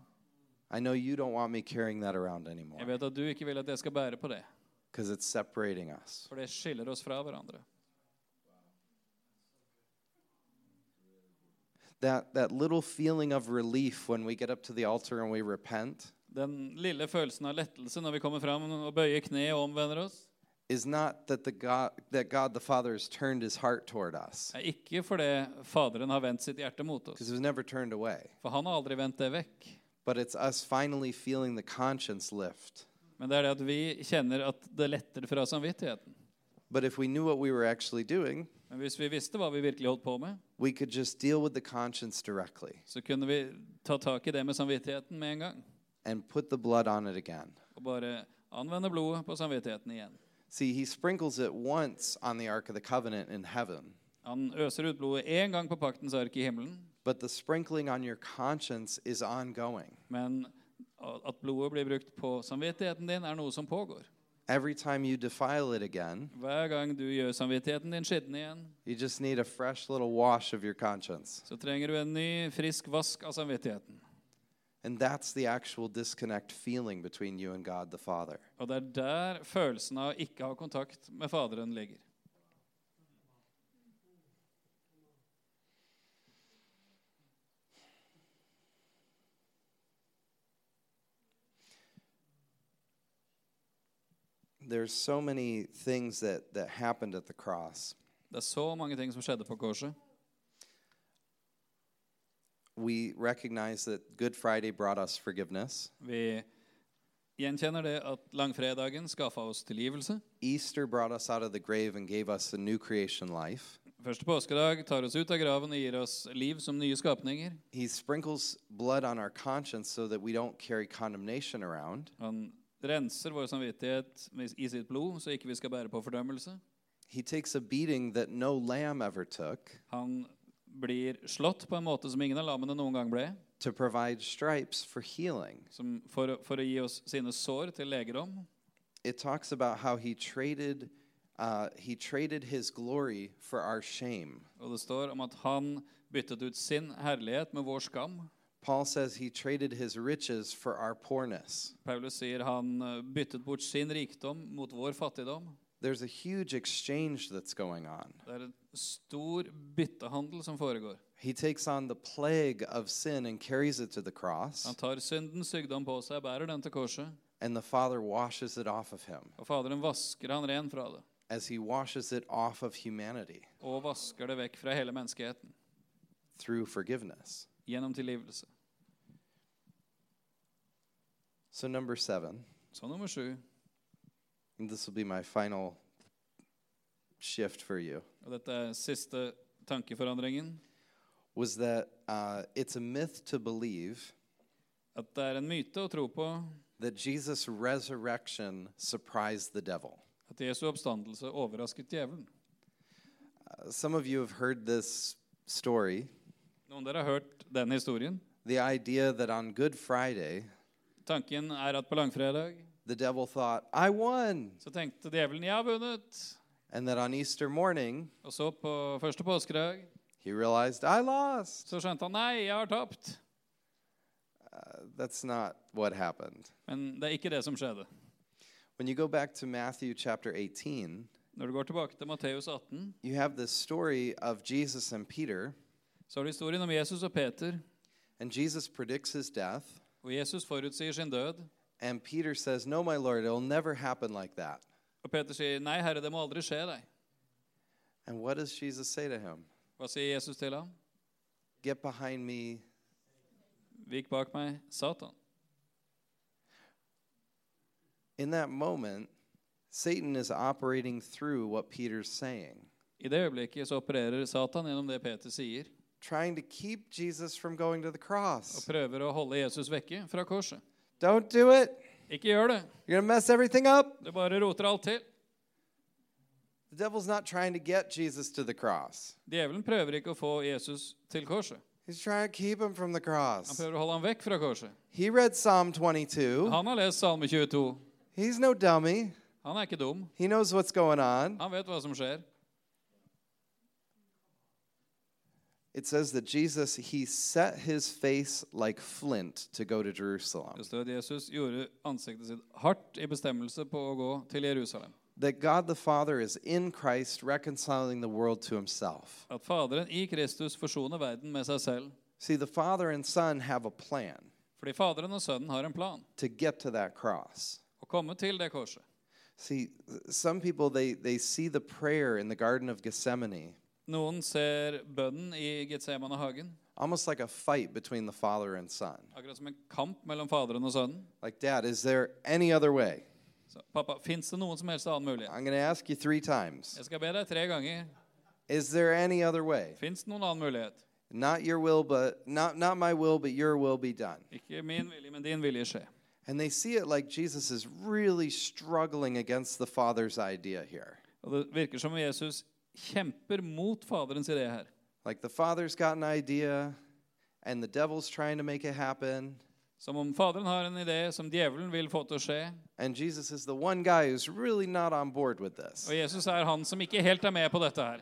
[SPEAKER 2] I know you don't want me carrying that around
[SPEAKER 3] Jeg
[SPEAKER 2] anymore
[SPEAKER 3] vet at du ikke vil at jeg skal bære på det,
[SPEAKER 2] because it's separating us.
[SPEAKER 3] for det skiller oss fra hverandre.
[SPEAKER 2] That, that little feeling of relief when we get up to the altar and we repent
[SPEAKER 3] Den lille følelsen av lettelse når vi kommer fram og bøyer kne og omvender oss,
[SPEAKER 2] is not that, the God, that God the Father has turned his heart toward us
[SPEAKER 3] er ikke fordi Faderen har vendt sitt hjerte mot oss,
[SPEAKER 2] because he was never turned away,
[SPEAKER 3] for han har aldri vendt det vekk.
[SPEAKER 2] but it's us finally feeling the conscience lift.
[SPEAKER 3] Men det er det at vi kjenner at det letter fra samvittigheten.
[SPEAKER 2] But if we knew what we were actually doing,
[SPEAKER 3] Men hvis vi visste hva vi virkelig holdt på med,
[SPEAKER 2] we could just deal with the conscience directly
[SPEAKER 3] så kunne vi ta tak i det med samvittigheten med en gang.
[SPEAKER 2] and put the blood on it again.
[SPEAKER 3] Og bare anvende blodet på samvittigheten igjen.
[SPEAKER 2] See, he sprinkles it once on the Ark of the Covenant in heaven,
[SPEAKER 3] Han øser ut blodet én gang på paktens ark i himmelen,
[SPEAKER 2] but the sprinkling on your conscience is ongoing.
[SPEAKER 3] men at blodet blir brukt på samvittigheten din, er noe som pågår.
[SPEAKER 2] Every time you defile it again,
[SPEAKER 3] Hver gang du gjør samvittigheten din skitten igjen,
[SPEAKER 2] you just need a fresh little wash of your conscience.
[SPEAKER 3] så trenger du en ny, frisk vask av samvittigheten.
[SPEAKER 2] And that's the actual disconnect feeling between you and God the Father.
[SPEAKER 3] Og det er der følelsen av ikke å ha kontakt med Faderen ligger.
[SPEAKER 2] There's so many things that, that happened at the cross.
[SPEAKER 3] Det er så mange ting som skjedde på korset.
[SPEAKER 2] We recognize that Good Friday brought us forgiveness.
[SPEAKER 3] Vi gjenkjenner det at langfredagen skaffa oss tilgivelse.
[SPEAKER 2] Easter brought us out of the grave and gave us a new creation life.
[SPEAKER 3] Første påskedag tar oss ut av graven og gir oss liv som nye skapninger.
[SPEAKER 2] He sprinkles blood on our conscience so that we don't carry condemnation around.
[SPEAKER 3] Han renser vår samvittighet med- i sitt blod, så ikke vi skal bære på fordømmelse.
[SPEAKER 2] He takes a beating that no lamb ever took
[SPEAKER 3] Han blir slått på en måte som ingen av lammene noen gang ble,
[SPEAKER 2] to provide stripes for healing.
[SPEAKER 3] som for, å- for å gi oss sine sår til legedom.
[SPEAKER 2] It talks about how he traded, uh, he traded his glory for our shame.
[SPEAKER 3] Og det står om at han byttet ut sin herlighet med vår skam.
[SPEAKER 2] Paul says he traded his riches for our poorness.
[SPEAKER 3] Paulus sier han eh, byttet bort sin rikdom mot vår fattigdom.
[SPEAKER 2] There's a huge exchange that's going on.
[SPEAKER 3] Det er en stor byttehandel som foregår.
[SPEAKER 2] He takes on the plague of sin and carries it to the cross,
[SPEAKER 3] Han tar syndens sykdom på seg, bærer den til korset,
[SPEAKER 2] and the Father washes it off of him
[SPEAKER 3] og Faderen vasker han ren fra det.
[SPEAKER 2] as he washes it off of humanity
[SPEAKER 3] Og vasker det vekk fra hele menneskeheten
[SPEAKER 2] through forgiveness.
[SPEAKER 3] gjennom tilgivelse.
[SPEAKER 2] So, number seven,
[SPEAKER 3] Så nummer sju,
[SPEAKER 2] and this will be my final shift for you,
[SPEAKER 3] og dette er siste tankeforandringen,
[SPEAKER 2] was that uh, it's a myth to believe
[SPEAKER 3] at det er en myte å tro på
[SPEAKER 2] that Jesus' resurrection surprised the devil.
[SPEAKER 3] at Jesu oppstandelse overrasket djevelen.
[SPEAKER 2] Uh, some of you have heard this story
[SPEAKER 3] Noen av dere har hørt den historien.
[SPEAKER 2] the idea that on Good Friday,
[SPEAKER 3] Tanken er at på langfredag
[SPEAKER 2] the devil thought, I won.
[SPEAKER 3] så tenkte djevelen 'jeg har vunnet',
[SPEAKER 2] And that on Easter morning,
[SPEAKER 3] og så på første påskedag
[SPEAKER 2] he realized, I lost.
[SPEAKER 3] så skjønte han 'nei, jeg har tapt'.
[SPEAKER 2] Uh, that's not what happened.
[SPEAKER 3] Men det er ikke det som skjedde.
[SPEAKER 2] When you go back to Matthew chapter 18,
[SPEAKER 3] Når du går tilbake til Matteus 18,
[SPEAKER 2] you have this story of Jesus and Peter,
[SPEAKER 3] så har du historien om Jesus og Peter.
[SPEAKER 2] and Jesus predicts his death,
[SPEAKER 3] Og Jesus forutsier sin død.
[SPEAKER 2] and Peter says, No, my Lord, it'll never happen like that.
[SPEAKER 3] Og Peter sier, 'Nei, Herre, det må aldri skje deg'.
[SPEAKER 2] And what does Jesus say to him?
[SPEAKER 3] Hva sier Jesus til ham?
[SPEAKER 2] Get behind me.
[SPEAKER 3] Vik bak meg, Satan.
[SPEAKER 2] In that moment, Satan is operating through what Peter's saying,
[SPEAKER 3] I det øyeblikket så opererer Satan gjennom det Peter sier,
[SPEAKER 2] trying to keep Jesus from going to the
[SPEAKER 3] og
[SPEAKER 2] cross.
[SPEAKER 3] prøver å holde Jesus vekke fra korset.
[SPEAKER 2] Don't do it.
[SPEAKER 3] Ikke gjør det.
[SPEAKER 2] You're going to mess everything up.
[SPEAKER 3] Du bare roter alt til.
[SPEAKER 2] The devil's not trying to get Jesus to the cross.
[SPEAKER 3] Djevelen prøver ikke å få Jesus til korset.
[SPEAKER 2] He's trying to keep him from the
[SPEAKER 3] Han
[SPEAKER 2] cross.
[SPEAKER 3] prøver å holde ham vekk fra korset.
[SPEAKER 2] He read Psalm 22.
[SPEAKER 3] Han har lest Salme 22.
[SPEAKER 2] He's no dummy.
[SPEAKER 3] Han er ikke dum.
[SPEAKER 2] He knows what's going on.
[SPEAKER 3] Han vet hva som skjer.
[SPEAKER 2] It says that Jesus, he set his face like flint to go to Jerusalem.
[SPEAKER 3] Det står at Jesus gjorde ansiktet sitt hardt i bestemmelse på å gå til Jerusalem.
[SPEAKER 2] That God the Father is in Christ reconciling the world to himself.
[SPEAKER 3] At Faderen i Kristus forsoner verden med seg selv.
[SPEAKER 2] See, the Father and Son have a plan
[SPEAKER 3] Fordi Faderen og Sønnen har en plan
[SPEAKER 2] to get to that cross.
[SPEAKER 3] å komme til det korset.
[SPEAKER 2] See, some people they, they see the prayer in the Garden of Gethsemane
[SPEAKER 3] Noen ser bønnen i Getsemanehagen,
[SPEAKER 2] almost like a fight between the Father and Son.
[SPEAKER 3] akkurat som en kamp mellom Faderen og Sønnen.
[SPEAKER 2] Like, Dad, is there any other way?
[SPEAKER 3] Så, pappa, fins det noen som helst annen mulighet?
[SPEAKER 2] I'm going to ask you three times.
[SPEAKER 3] Jeg skal be deg tre ganger.
[SPEAKER 2] Is there any other way?
[SPEAKER 3] Fins det noen annen mulighet?
[SPEAKER 2] Not your will, but not, not my will, but your will be done.
[SPEAKER 3] Ikke min vilje, men din vilje skje.
[SPEAKER 2] And they see it like Jesus is really struggling against the Father's idea here.
[SPEAKER 3] Og Det virker som om Jesus kjemper mot Faderens idé her.
[SPEAKER 2] Like the Father's got an idea, and the devil's trying to make it happen.
[SPEAKER 3] Som om Faderen har en idé som djevelen vil få til å skje,
[SPEAKER 2] And Jesus is the one guy who's really not on board with this.
[SPEAKER 3] og Jesus er han som ikke helt er med på dette her.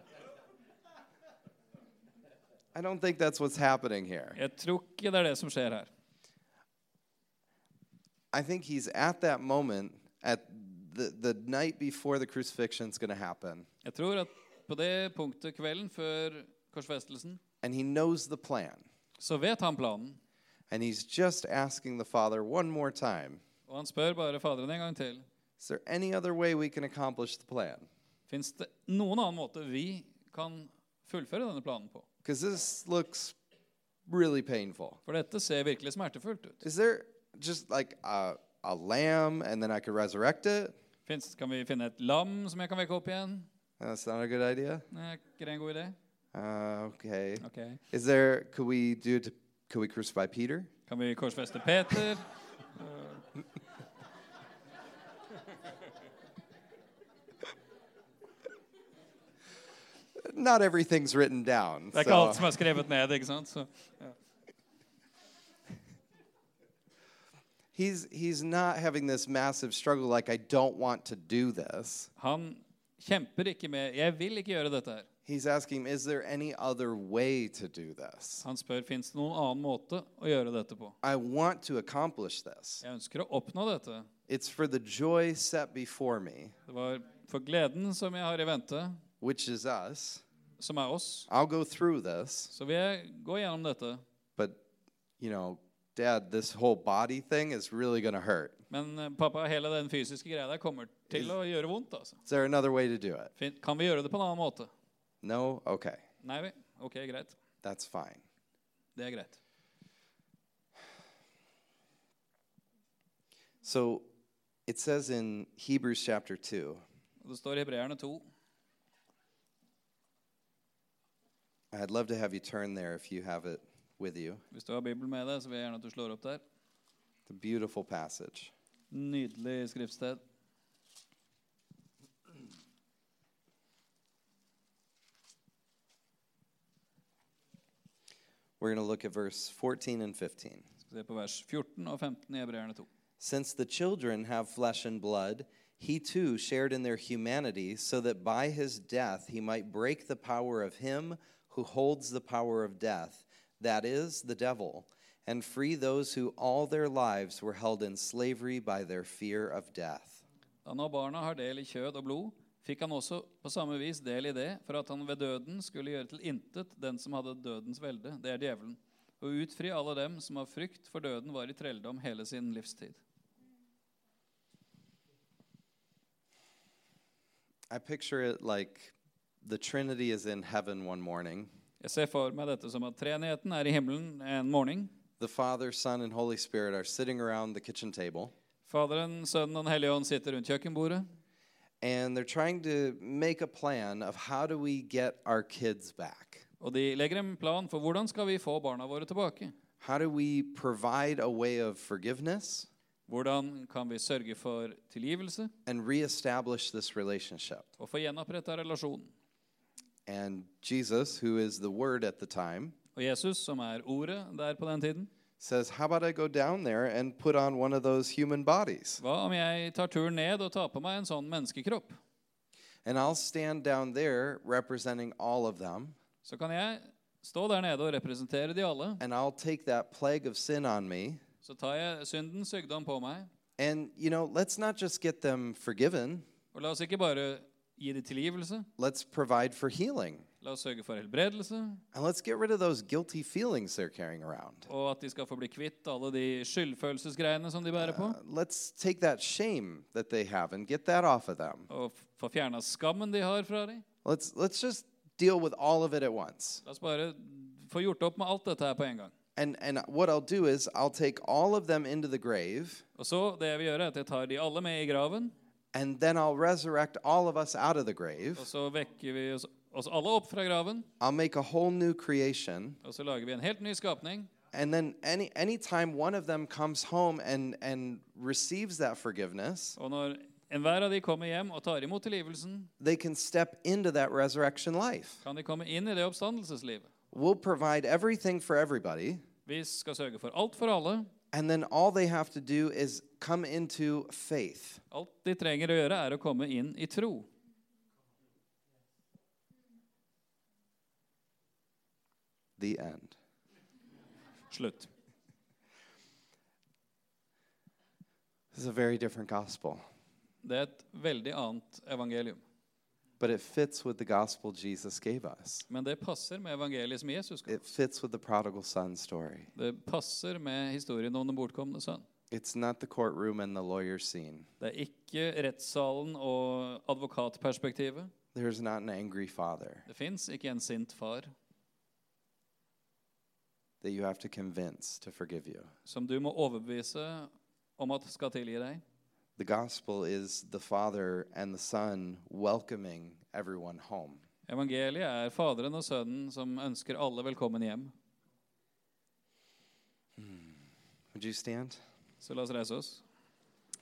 [SPEAKER 2] I don't think that's what's happening here.
[SPEAKER 3] Jeg tror ikke det er det som skjer her.
[SPEAKER 2] I think he's at that moment at the, the night before the crucifixion's going to happen,
[SPEAKER 3] Jeg tror at på det punktet kvelden før korsfestelsen,
[SPEAKER 2] and he knows the plan.
[SPEAKER 3] så vet han planen.
[SPEAKER 2] And he's just asking the Father one more time
[SPEAKER 3] Og han spør bare Faderen en gang til.
[SPEAKER 2] Is there any other way we can accomplish the plan?
[SPEAKER 3] Fins det noen annen måte vi kan fullføre denne planen på?
[SPEAKER 2] Because this looks really painful.
[SPEAKER 3] For dette ser virkelig smertefullt ut.
[SPEAKER 2] Is there just like a, a lamb and then I could resurrect it?
[SPEAKER 3] Finnes, kan vi finne et lam som jeg kan vekke opp igjen?
[SPEAKER 2] That's not a good idea.
[SPEAKER 3] Nei, er ikke det en god idé?
[SPEAKER 2] Uh, okay.
[SPEAKER 3] Ok.
[SPEAKER 2] Is there, could we do, it to, could we crucify Peter?
[SPEAKER 3] Kan vi korsfeste Peter?
[SPEAKER 2] Not everything's written down.
[SPEAKER 3] Det er ikke
[SPEAKER 2] so-
[SPEAKER 3] alt som er skrevet ned, ikke sant? Så, ja.
[SPEAKER 2] he's, he's not having this massive struggle like, I don't want to do this.
[SPEAKER 3] Han kjemper ikke med 'Jeg vil ikke gjøre dette her'.
[SPEAKER 2] He's asking, is there any other way to do this?
[SPEAKER 3] Han spør fins det noen annen måte å gjøre dette på.
[SPEAKER 2] I want to accomplish this.
[SPEAKER 3] Jeg ønsker å oppnå dette.
[SPEAKER 2] It's for the joy set before me,
[SPEAKER 3] Det var for gleden som jeg har i vente,
[SPEAKER 2] which is us.
[SPEAKER 3] som er oss.
[SPEAKER 2] I'll go through this,
[SPEAKER 3] Så vil jeg gå gjennom dette.
[SPEAKER 2] but you know, dad, this whole body thing is really going to hurt.
[SPEAKER 3] Men eh, pappa, hele den fysiske greia der kommer til å gjøre vondt, altså.
[SPEAKER 2] Is there another way to do it?
[SPEAKER 3] Fin- Kan vi gjøre det på en annen måte?
[SPEAKER 2] No? Okay,
[SPEAKER 3] Nei vel. Ok, greit.
[SPEAKER 2] that's fine.
[SPEAKER 3] Det er greit.
[SPEAKER 2] So it says in Hebrews chapter 2,
[SPEAKER 3] Og det står i Hebreerne 2.
[SPEAKER 2] I'd love to have you turn there if you have it with you.
[SPEAKER 3] Hvis du har Bibelen med deg, så vil jeg gjerne at du slår opp der.
[SPEAKER 2] The beautiful passage.
[SPEAKER 3] Nydelig skriftsted.
[SPEAKER 2] We're going to look at verse 14 and 15.
[SPEAKER 3] Skal vi se på vers 14 og 15 i Hebreerne 2.
[SPEAKER 2] Since the children have flesh and blood, he too shared in their humanity, so that by his death he might break the power of him who holds the power of death, that is, the devil, and free those who all their lives were held in slavery by their fear of death.
[SPEAKER 3] Da nå barna har del i kjød og blod, fikk han også på samme vis del i det, for at han ved døden skulle gjøre til intet den som hadde dødens velde, det er djevelen, og utfri alle dem som av frykt for døden var i trelldom hele sin livstid.
[SPEAKER 2] I picture it like the Trinity is in heaven one morning.
[SPEAKER 3] Jeg ser for meg dette som at treenigheten er i himmelen en morgen.
[SPEAKER 2] The Father, Son, and Holy Spirit are sitting around the kitchen table,
[SPEAKER 3] Faderen, Sønnen og Den hellige ånd sitter rundt kjøkkenbordet,
[SPEAKER 2] and they're trying to make a plan of how do we get our kids back?
[SPEAKER 3] og de legger en plan for hvordan skal vi få barna våre tilbake.
[SPEAKER 2] How do we provide a way of forgiveness
[SPEAKER 3] Hvordan kan vi sørge for tilgivelse
[SPEAKER 2] and reestablish this relationship?
[SPEAKER 3] og få gjenoppretta relasjonen?
[SPEAKER 2] And Jesus, who is the Word at the time,
[SPEAKER 3] Og Jesus, som er ordet der på den tiden,
[SPEAKER 2] says, How about I go down there and put on one of those human bodies?
[SPEAKER 3] Hva om jeg tar turen ned og tar på meg en sånn menneskekropp?
[SPEAKER 2] And I'll stand down there representing all of them,
[SPEAKER 3] Så kan jeg stå der nede og representere de alle.
[SPEAKER 2] and I'll take that plague of sin on me.
[SPEAKER 3] Så tar jeg syndens sykdom på meg.
[SPEAKER 2] And, you know, let's not just get them forgiven,
[SPEAKER 3] Og la oss ikke bare gi de tilgivelse.
[SPEAKER 2] let's provide for healing.
[SPEAKER 3] La oss sørge for helbredelse,
[SPEAKER 2] And let's get rid of those guilty feelings they're carrying around.
[SPEAKER 3] og at de skal få bli kvitt alle de skyldfølelsesgreiene som de bærer på.
[SPEAKER 2] Uh, let's take that shame that they have and get that off of them.
[SPEAKER 3] Og f- få fjerna skammen de har fra dem.
[SPEAKER 2] Let's, let's just deal with all of it at once.
[SPEAKER 3] La oss bare få gjort opp med alt dette her på en gang.
[SPEAKER 2] And, and what I'll do is I'll take all of them into the grave,
[SPEAKER 3] Og så, det jeg vil gjøre, er at jeg tar de alle med i graven,
[SPEAKER 2] and then I'll resurrect all of us out of the grave.
[SPEAKER 3] og så vekker vi oss, oss alle opp fra graven,
[SPEAKER 2] I'll make a whole new creation.
[SPEAKER 3] og så lager vi en helt ny skapning.
[SPEAKER 2] And then any anytime one of them comes home and, and receives that forgiveness,
[SPEAKER 3] Og når enhver av de kommer hjem og tar imot tilgivelsen,
[SPEAKER 2] they can step into that resurrection life.
[SPEAKER 3] kan de komme inn i det oppstandelseslivet.
[SPEAKER 2] We'll provide everything for everybody.
[SPEAKER 3] Vi skal sørge for alt for alle.
[SPEAKER 2] And then all they have to do is come into faith.
[SPEAKER 3] Alt de trenger å gjøre, er å komme inn i tro.
[SPEAKER 2] The end.
[SPEAKER 3] Slutt.
[SPEAKER 2] This is a very different gospel,
[SPEAKER 3] Det er et veldig annet evangelium.
[SPEAKER 2] but it fits with the gospel Jesus gave us.
[SPEAKER 3] Men det passer med evangeliet som Jesus ga.
[SPEAKER 2] It fits with the prodigal son story.
[SPEAKER 3] Det passer med historien om den bortkomne sønn.
[SPEAKER 2] It's not the courtroom and the lawyer scene.
[SPEAKER 3] Det er ikke rettssalen og advokatperspektivet.
[SPEAKER 2] There's not an angry father
[SPEAKER 3] Det fins ikke en sint far
[SPEAKER 2] that you have to convince to forgive you.
[SPEAKER 3] som du må overbevise om at skal tilgi deg.
[SPEAKER 2] The gospel is the father and the son welcoming everyone home.
[SPEAKER 3] Evangeliet er Faderen og Sønnen som ønsker alle velkommen hjem.
[SPEAKER 2] Would you stand?
[SPEAKER 3] Så la oss reise oss.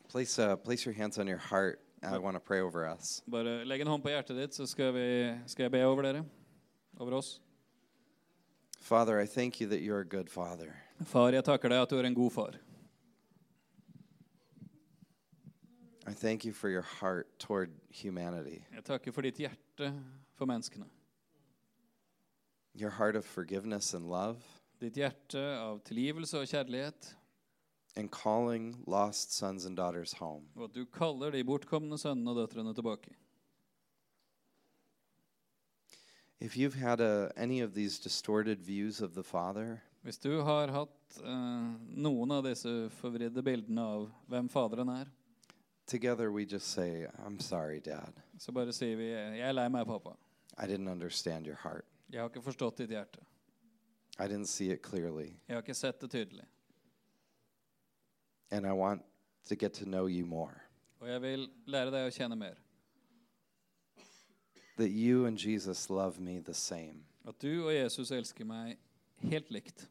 [SPEAKER 2] Place, uh, place your hands on your heart. I want to pray over us.
[SPEAKER 3] Bare legg en hånd på hjertet ditt, så skal, vi, skal jeg be over dere. Over oss.
[SPEAKER 2] Father, I thank you that you're a good father.
[SPEAKER 3] Far, jeg takker deg at du er en god far.
[SPEAKER 2] I thank you for your heart toward humanity,
[SPEAKER 3] Jeg takker for ditt hjerte for menneskene.
[SPEAKER 2] your heart of forgiveness and love,
[SPEAKER 3] Ditt hjerte av tilgivelse og kjærlighet,
[SPEAKER 2] and calling lost sons and daughters home.
[SPEAKER 3] og at du kaller de bortkomne sønnene og døtrene tilbake.
[SPEAKER 2] If you've had uh any of these distorted views of the Father,
[SPEAKER 3] Hvis du har hatt eh, noen av disse forvridde bildene av hvem Faderen er,
[SPEAKER 2] together we just say, I'm sorry, Dad.
[SPEAKER 3] så bare sier vi 'Jeg er lei meg, pappa.
[SPEAKER 2] I didn't understand your heart.
[SPEAKER 3] Jeg har ikke forstått ditt hjerte.
[SPEAKER 2] I didn't see it clearly.
[SPEAKER 3] Jeg har ikke sett det tydelig.
[SPEAKER 2] And I want to get to know you more.
[SPEAKER 3] Og jeg vil lære deg å kjenne mer.
[SPEAKER 2] That you and Jesus love me the same.
[SPEAKER 3] At du og Jesus elsker meg helt likt.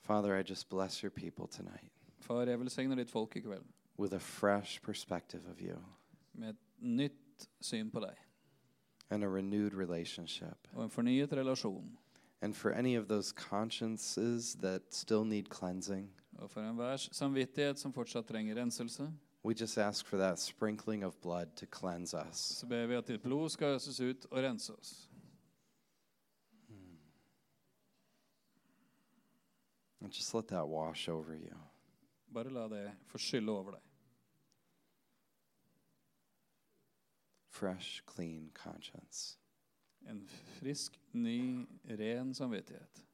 [SPEAKER 2] Father, I just bless your people tonight
[SPEAKER 3] Far, jeg velsigner ditt folk i kveld
[SPEAKER 2] with a fresh perspective of you
[SPEAKER 3] med et nytt syn på deg
[SPEAKER 2] and a renewed relationship.
[SPEAKER 3] og en fornyet relasjon.
[SPEAKER 2] And for any of those consciences that still need cleansing,
[SPEAKER 3] Og for enhvers samvittighet som fortsatt trenger renselse,
[SPEAKER 2] we just ask for that sprinkling of blood to cleanse us.
[SPEAKER 3] så ber vi at ditt blod skal øses ut og rense oss.
[SPEAKER 2] And just let that wash over you.
[SPEAKER 3] Bare la det få skylle over deg.
[SPEAKER 2] Fresh, clean conscience.
[SPEAKER 3] En frisk, ny, ren samvittighet.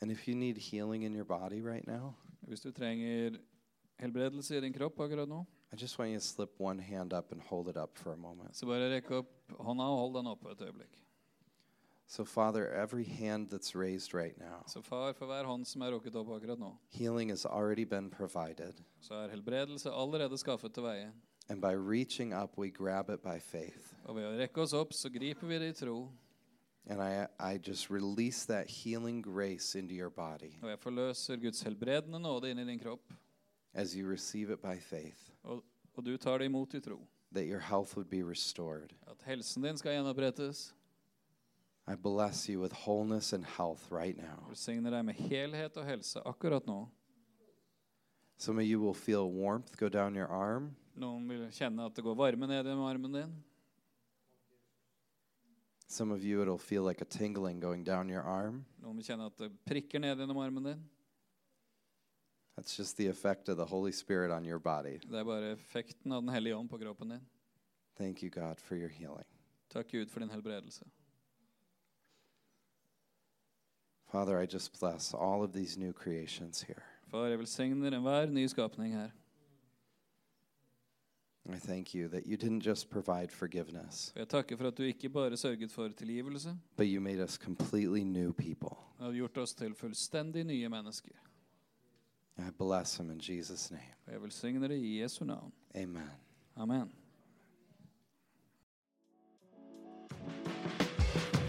[SPEAKER 2] And if you need healing in your body right now,
[SPEAKER 3] Hvis du trenger helbredelse i din kropp akkurat nå,
[SPEAKER 2] I just want you to slip one hand up and hold it up for a moment.
[SPEAKER 3] så bare rekk opp hånda og hold den oppe et øyeblikk.
[SPEAKER 2] So, Father, every hand that's raised right now,
[SPEAKER 3] Så far, for hver hånd som er rukket opp akkurat nå,
[SPEAKER 2] healing has already been provided.
[SPEAKER 3] så er helbredelse allerede skaffet til veie.
[SPEAKER 2] And by reaching up, we grab it by faith.
[SPEAKER 3] Og ved å rekke oss opp, så griper vi det i tro.
[SPEAKER 2] And I, I just release that healing grace into your body
[SPEAKER 3] Og jeg forløser Guds helbredende nåde inn i din kropp,
[SPEAKER 2] as you receive it by faith.
[SPEAKER 3] og, og du tar det imot i tro.
[SPEAKER 2] that your health would be restored.
[SPEAKER 3] At helsen din skal gjenopprettes.
[SPEAKER 2] I bless you with wholeness and health right now.
[SPEAKER 3] Velsigner deg med helhet og helse akkurat nå.
[SPEAKER 2] Some of you will feel warmth go down your arm.
[SPEAKER 3] Noen vil kjenne at det går varme ned gjennom armen din.
[SPEAKER 2] Some of you, it'll feel like a tingling going down your arm.
[SPEAKER 3] Noen vil kjenne at det prikker ned gjennom armen din.
[SPEAKER 2] That's just the effect of the Holy Spirit on your body.
[SPEAKER 3] Det er bare effekten av Den hellige ånd på kroppen din.
[SPEAKER 2] Thank you, God, for your healing.
[SPEAKER 3] Takk Gud for din helbredelse.
[SPEAKER 2] Father, I just bless all of these new creations here.
[SPEAKER 3] Far, jeg velsigner enhver ny skapning her.
[SPEAKER 2] I thank you that you didn't just provide forgiveness,
[SPEAKER 3] Og jeg takker for at du ikke bare sørget for tilgivelse,
[SPEAKER 2] but you made us completely new people.
[SPEAKER 3] men har gjort oss til fullstendig nye mennesker.
[SPEAKER 2] I bless them in Jesus' name.
[SPEAKER 3] Og jeg velsigner det i Jesu navn.
[SPEAKER 2] Amen.
[SPEAKER 3] Amen.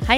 [SPEAKER 4] Hei